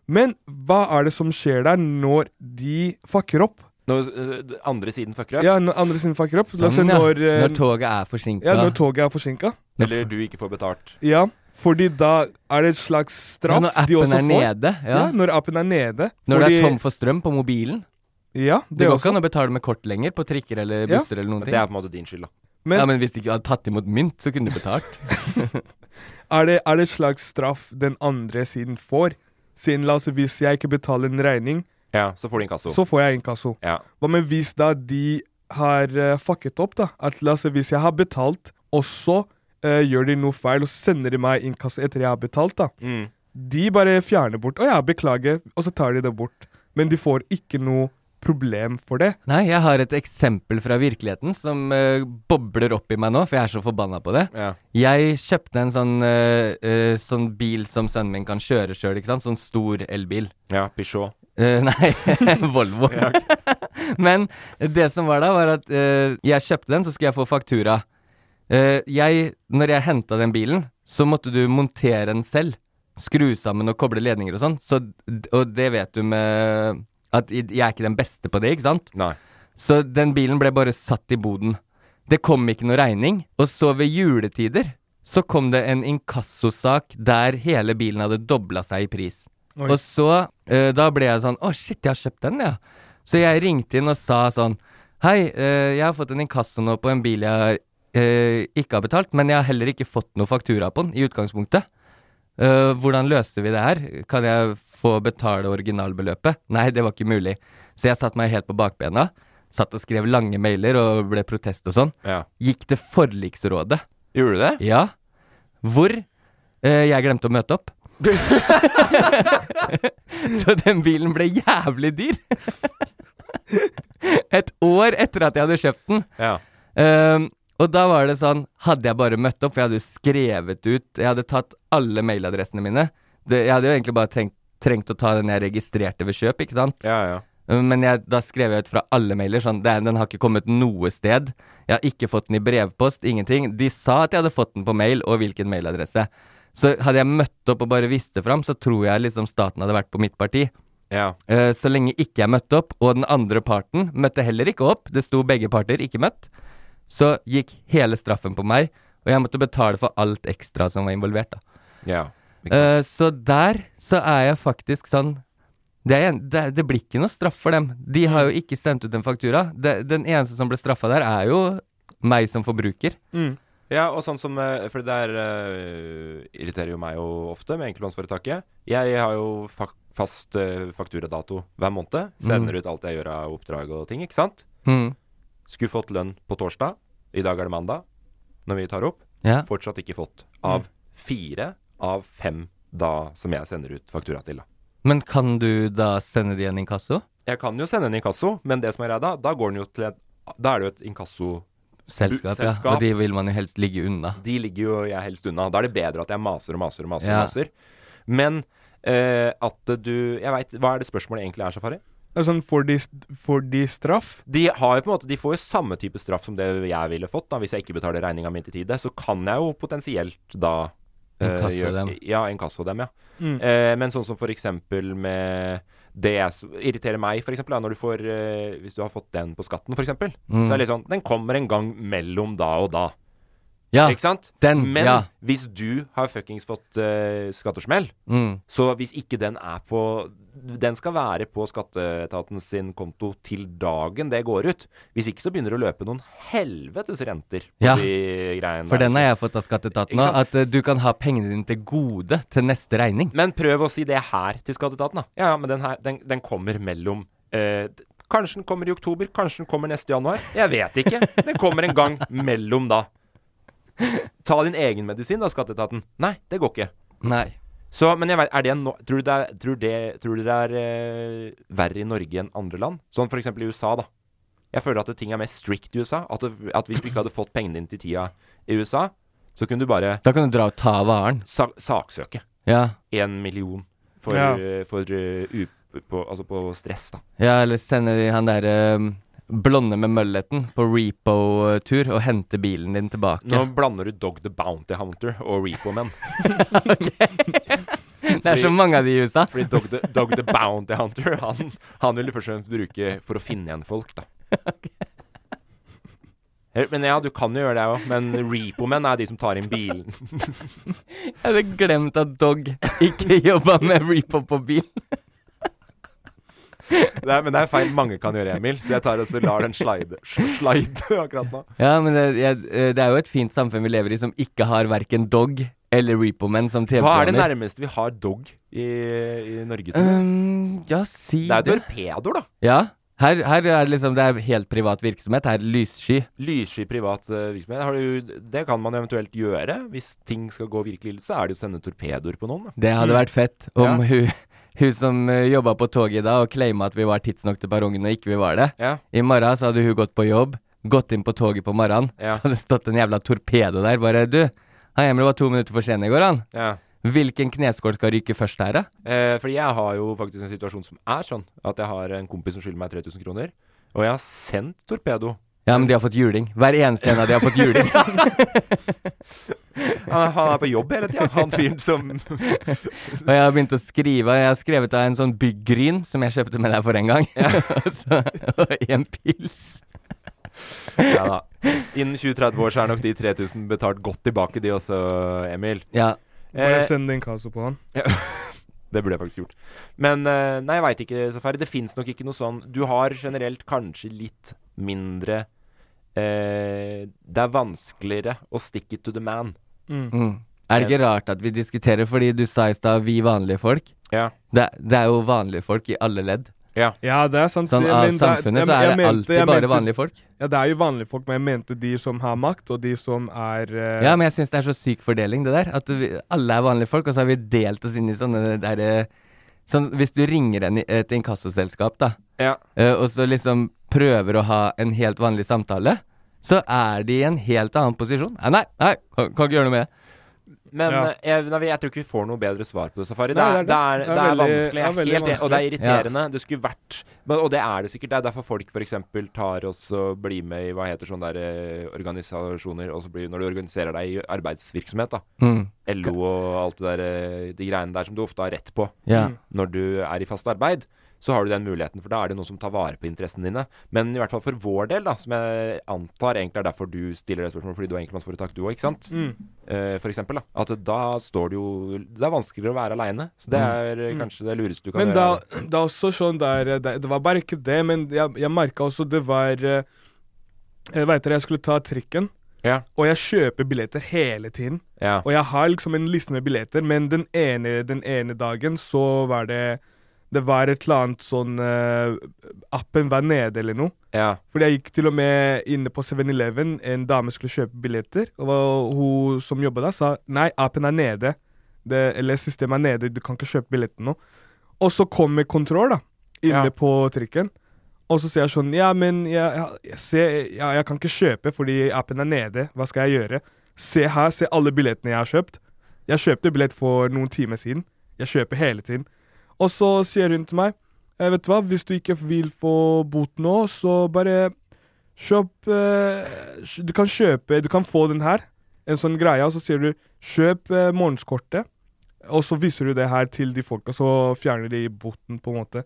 Men hva er det som skjer der når de fucker opp? Når eh, d- andre siden fucker opp? Ja, når andre sine fucker opp. La oss si Sånn, ja. når, eh, Når toget er forsinket. Ja, når toget er forsinka. Eller du ikke får betalt. Ja, fordi da er det et slags straff Ja, når de også appen er får. nede, ja. når appen er nede. Når det Fordi- er tom for strøm på mobilen. Ja, det, det går også. ikke an å betale med kort lenger på trikker eller Ja. busser eller noen ting. Det er på en måte din skyld, da. Men- ja, men hvis du ikke hadde tatt imot mynt, så kunne du betalt. er, det, er det et slags straff den andre siden får? Siden la oss si hvis jeg ikke betaler en regning, Ja, så får du inkasso. så får jeg inkasso. Ja. Hva med hvis da de har eh, fucket opp, da? At la oss si hvis jeg har betalt, og så eh, gjør de noe feil og sender de meg inkasso etter jeg har betalt, da. Mm. De bare fjerner bort. Å ja, beklager. Og så tar de det bort. Men de får ikke noe problem for det. Nei, jeg har et eksempel fra virkeligheten som eh, bobler opp i meg nå, for jeg er så forbanna på det. Ja. Jeg kjøpte en sånn, eh, eh, sånn bil som sønnen min kan kjøre sjøl, ikke sant. Sånn stor elbil. Ja, Peugeot. Eh, nei, Volvo. Ja, ok. Men det som var da, var at eh, jeg kjøpte den, så skulle jeg få faktura. Eh, jeg, når jeg henta den bilen, så måtte du montere den selv. Skru sammen og koble ledninger og sånn. Så, d- og det vet du med At i- jeg er ikke den beste på det, ikke sant? Nei. Så den bilen ble bare satt i boden. Det kom ikke noe regning. Og så ved juletider så kom det en inkassosak der hele bilen hadde dobla seg i pris. Oi. Og så eh, da ble jeg sånn Å, shit, jeg har kjøpt den, ja. Så jeg ringte inn og sa sånn Hei, eh, jeg har fått en inkasso nå på en bil jeg eh, ikke har betalt, men jeg har heller ikke fått noe faktura på den i utgangspunktet. Eh, hvordan løser vi det her? Kan jeg få betale originalbeløpet? Nei, det var ikke mulig. Så jeg satte meg helt på bakbena. Satt og skrev lange mailer og ble protest og sånn. Ja. Gikk til forliksrådet. Gjorde du det? Ja. Hvor eh, jeg glemte å møte opp. Så den bilen ble jævlig dyr. Et år etter at jeg hadde kjøpt den. Ja. Ehm, og da var det sånn Hadde jeg bare møtt opp, for jeg hadde jo skrevet ut Jeg hadde tatt alle mailadressene mine. Det, jeg hadde jo egentlig bare tenkt, trengt å ta den jeg registrerte ved kjøp, ikke sant? Ja, ja. Eh, Men jeg, da skrev jeg ut fra alle mailer sånn det, er- Den har ikke kommet noe sted. Jeg har ikke fått den i brevpost. Ingenting. De sa at jeg hadde fått den på mail, og hvilken mailadresse. Så hadde jeg møtt opp og bare vist det fram, så tror jeg liksom staten hadde vært på mitt parti. Eh, Så lenge ikke jeg møtte opp, og den andre parten møtte heller ikke opp, det sto begge parter ikke møtt, så gikk hele straffen på meg, og jeg måtte betale for alt ekstra som var involvert. da. Ja, Eh, så der så er jeg faktisk sånn det, er, en- det, det blir ikke noe straff for dem. De har jo ikke sendt ut en faktura. Det, den eneste som ble straffa der, er jo meg som forbruker. Ja, og sånn som eh, For det der eh, irriterer jo meg jo ofte med enkeltmannsforetaket. Jeg har jo fak fast eh, fakturadato hver måned. Sender Mm. ut alt jeg gjør av oppdrag og ting, ikke sant? Mm. Skulle fått lønn på torsdag. I dag er det mandag, når vi tar opp. Ja. Fortsatt ikke fått. Av fire av fem da som jeg sender ut faktura til, da. Men kan du da sende de en inkasso? Jeg kan jo sende en inkasso, men det som er greia da, da går den jo til et Da er det jo et inkassoselskap. Selskap, ja. Og de vil man jo helst ligge unna. De ligger jo jeg helst unna. Da er det bedre at jeg maser og maser og maser. Ja. og maser. Men eh, at du Jeg veit Hva er det spørsmålet egentlig er, Safari? Det er sånn, får de, får de straff? De har jo på en måte De får jo samme type straff som det jeg ville fått da hvis jeg ikke betaler regninga mi til tide. Så kan jeg jo potensielt da eh, Inkasso gjøre- dem. Ja, inkasso dem, ja. Mm. Eh, men sånn som for eksempel med det jeg s- irriterer meg, for eksempel, da, når du får eh, Hvis du har fått den på skatten, for eksempel, Mm. så er det litt sånn Den kommer en gang mellom da og da. Ja, ikke sant? den, men ja. hvis du har fuckings fått eh, skattesmell, Mm. så hvis ikke den er på Den skal være på skatteetaten sin konto til dagen det går ut. Hvis ikke så begynner det å løpe noen helvetes renter på Ja, de greiene For der, den har altså. jeg fått av skatteetaten Ikke nå, sant? at eh, du kan ha pengene dine til gode til neste regning. Men prøv å si det her til skatteetaten, da. Ja, ja, men den her, den, den kommer mellom eh, d- Kanskje den kommer i oktober, kanskje den kommer neste januar. Jeg vet ikke. Den kommer en gang mellom da. Ta din egen medisin da, skatteetaten. Nei, det går ikke. Nei. Så, men jeg vet, er det en, no- tror, du det er, tror, det, tror du det er eh, verre i Norge enn andre land? Sånn for eksempel i USA, da. Jeg føler at det- ting er mer strict i USA. At, det, at hvis du ikke hadde fått pengene dine til tida i USA, så kunne du bare Da kan du dra og ta varen. sa saksøke. Ja. En million for, Ja. eh, for eh, u på, altså på stress, da. Ja, eller sende de han derre blonde med mølleten på repo-tur og hente bilen din tilbake. Nå blander du Dog the Bounty Hunter og Repo Men. Det er så mange av de i USA. Fordi Dog the, Dog the Bounty Hunter, han, han vil du først og fremst bruke for å finne igjen folk, da. Eh, Men ja, du kan jo gjøre det òg, men repo-menn er de som tar inn bilen. Jeg hadde glemt at Dog ikke jobba med repo på bil. Det er, men det er feil mange kan gjøre, Emil, så jeg tar og så lar den slide, slide akkurat nå. Ja, men det, jeg, eh, det er jo et fint samfunn vi lever i som ikke har verken Dog eller repo-menn som Hva er det TV-programmer. nærmeste vi har dog i, i Norge? tror du? Um, ja, si det er jo torpedoer, da. Ja. Her, her er det liksom Det er helt privat virksomhet. Her er det lyssky. Lyssky privat eh, virksomhet. Har du, det kan man eventuelt gjøre. Hvis ting skal gå virkelig ille, så er det å sende torpedoer på noen. Da. Det hadde vært fett om Mm. Ja. hun, hun som uh, jobba på toget i dag og claima at vi var tidsnok til perrongen og ikke vi var det. Ja. I morgen så hadde hun gått på jobb, gått inn på toget på morgenen, Ja. så hadde det stått en jævla torpedo der. Bare du, han Emil var to minutter for sen i går, han. Ja. Hvilken kneskål skal ryke først her, da? Eh, fordi jeg har jo faktisk en situasjon som er sånn at jeg har en kompis som skylder meg 3000 kroner, og jeg har sendt torpedo. Ja, men de har fått juling. Hver eneste en av de har fått juling. Han, han er på jobb hele tida, han fyren som Og jeg har begynt å skrive. Jeg har skrevet av en sånn byggryn som jeg kjøpte med deg for en gang. Og så, og en pils. Ja da. Innen 20-30 år så er nok de 3000 betalt godt tilbake, de også, Emil. Ja. Bare Eh, send en kaso på han. Ja. Det burde jeg faktisk gjort. Men eh, nei, jeg veit ikke, Safari. Det fins nok ikke noe sånn Du har generelt kanskje litt mindre eh, Det er vanskeligere å stick it to the man. Mm. Mm. Er det ikke rart at vi diskuterer, fordi du sa i stad 'vi vanlige folk'? Ja. Det, det er jo vanlige folk i alle ledd. Ja. Ja, det er sant. Sånn Det- av men det- samfunnet jeg- så er jeg det mente- alltid jeg bare mente- vanlige folk. Ja, det er jo vanlige folk, men jeg mente de som har makt, og de som er eh, Ja, men jeg syns det er så syk fordeling, det der. At vi, alle er vanlige folk, og så har vi delt oss inn i sånne derre Sånn hvis du ringer en, et inkassoselskap, da, Ja. eh, og så liksom prøver å ha en helt vanlig samtale, så er de i en helt annen posisjon. Eh, Nei, nei, kan, kan ikke gjøre noe med det. Men Ja. eh, jeg, nei, jeg tror ikke vi får noe bedre svar på det, Safari. Nei, det, er, det, er, det, er veldig- vanskelig. Jeg det er er veldig helt, enig, Og det er vanskelig. irriterende. Det skulle vært men, Og det er det sikkert. Det er derfor folk f.eks. tar oss og blir med i hva heter sånne der, eh, organisasjoner og så blir, Når du organiserer deg i arbeidsvirksomhet, da. Mm. LO og alt det der, eh, de greiene der som du ofte har rett på Ja. når du er i fast arbeid. Så har du den muligheten, for da er det noen som tar vare på interessene dine. Men i hvert fall for vår del, da, som jeg antar egentlig er derfor du stiller det spørsmålet, fordi du har enkeltmannsforetak du òg, ikke sant? Mm. Eh, for eksempel, da. At da står det jo Det er vanskeligere å være aleine. Så det er eh, Mm. kanskje det lureste du kan Men da, gjøre. det er også sånn der eh, Det, det var bare ikke det, men jeg, jeg merka også det var eh, Jeg veit dere, jeg skulle ta trikken, Ja. og jeg kjøper billetter hele tiden. Ja. Og jeg har liksom en liste med billetter, men den ene, den ene dagen så var det Det var et eller annet sånn eh, Appen var nede eller noe. Ja. Fordi jeg gikk til og med inne på 7-Eleven. En dame skulle kjøpe billetter, og hun som jobba der, sa nei, appen er nede. Det, eller systemet er nede, du kan ikke kjøpe billetten nå. Og så kommer kontroll, da, inne på trikken. Og så sier jeg sånn Ja, men jeg, jeg, jeg, ser, ja, jeg kan ikke kjøpe fordi appen er nede. Hva skal jeg gjøre? Se her, se alle billettene jeg har kjøpt. Jeg kjøpte billett for noen timer siden. Jeg kjøper hele tiden. Og så sier hun til meg «Eh, Vet du hva, hvis du ikke vil få bot nå, så bare kjøp eh, kj- Du kan kjøpe Du kan få den her, en sånn greie, og så sier du kjøp eh, morgenskortet. Og så viser du det her til de folka, så fjerner de boten, på en måte.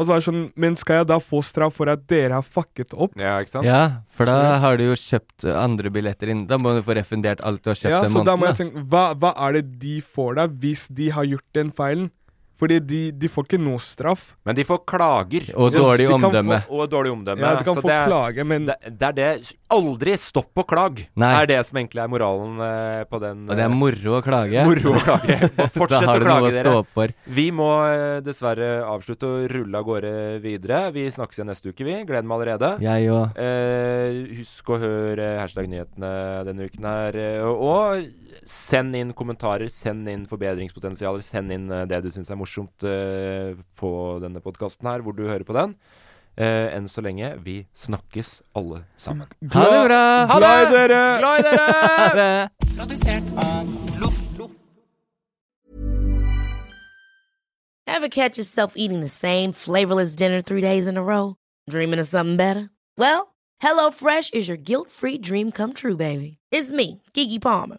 Og så er det sånn Men skal jeg da få straff for at dere har fucket opp? Ja, ikke sant? Ja, for da Skjønner har du jo kjøpt eh, andre billetter inn. Da må du få refundert alt du har kjøpt ja, den så da må jeg måneden. tenke, hva, hva er det de får da, hvis de har gjort den feilen? Fordi de, de får ikke noe straff. Men de får klager. Og dårlig de kan omdømme. Få, og dårlig omdømme. Ja, de kan så få det- klage, men det, det er det Aldri stopp å klage! Nei. Er det som egentlig er moralen eh, på den Og det er moro å klage. Moro å klage. Bare Da Fortsett har å du noe klage, å dere. stå opp for. Vi må eh, dessverre avslutte og rulle av gårde videre. Vi snakkes igjen neste uke, vi. Gleder meg allerede. Jeg òg. Eh, husk å høre eh, hashtag nyhetene denne uken her. eh, Og send inn kommentarer, send inn forbedringspotensialer, send inn eh, det du syns er morsomt eh, på denne podkasten her, hvor du hører på den. Eh, enn så lenge, vi snakkes alle sammen. Ha det bra! Ha det! Glad i dere! Glad i dere! Ha det! Produsert av Loff. Ever catch yourself eating the same flavorless dinner three days in a row? Dreaming of something better? Well, HelloFresh is your guilt-free dream come true, baby. It's me, Kiki Palmer.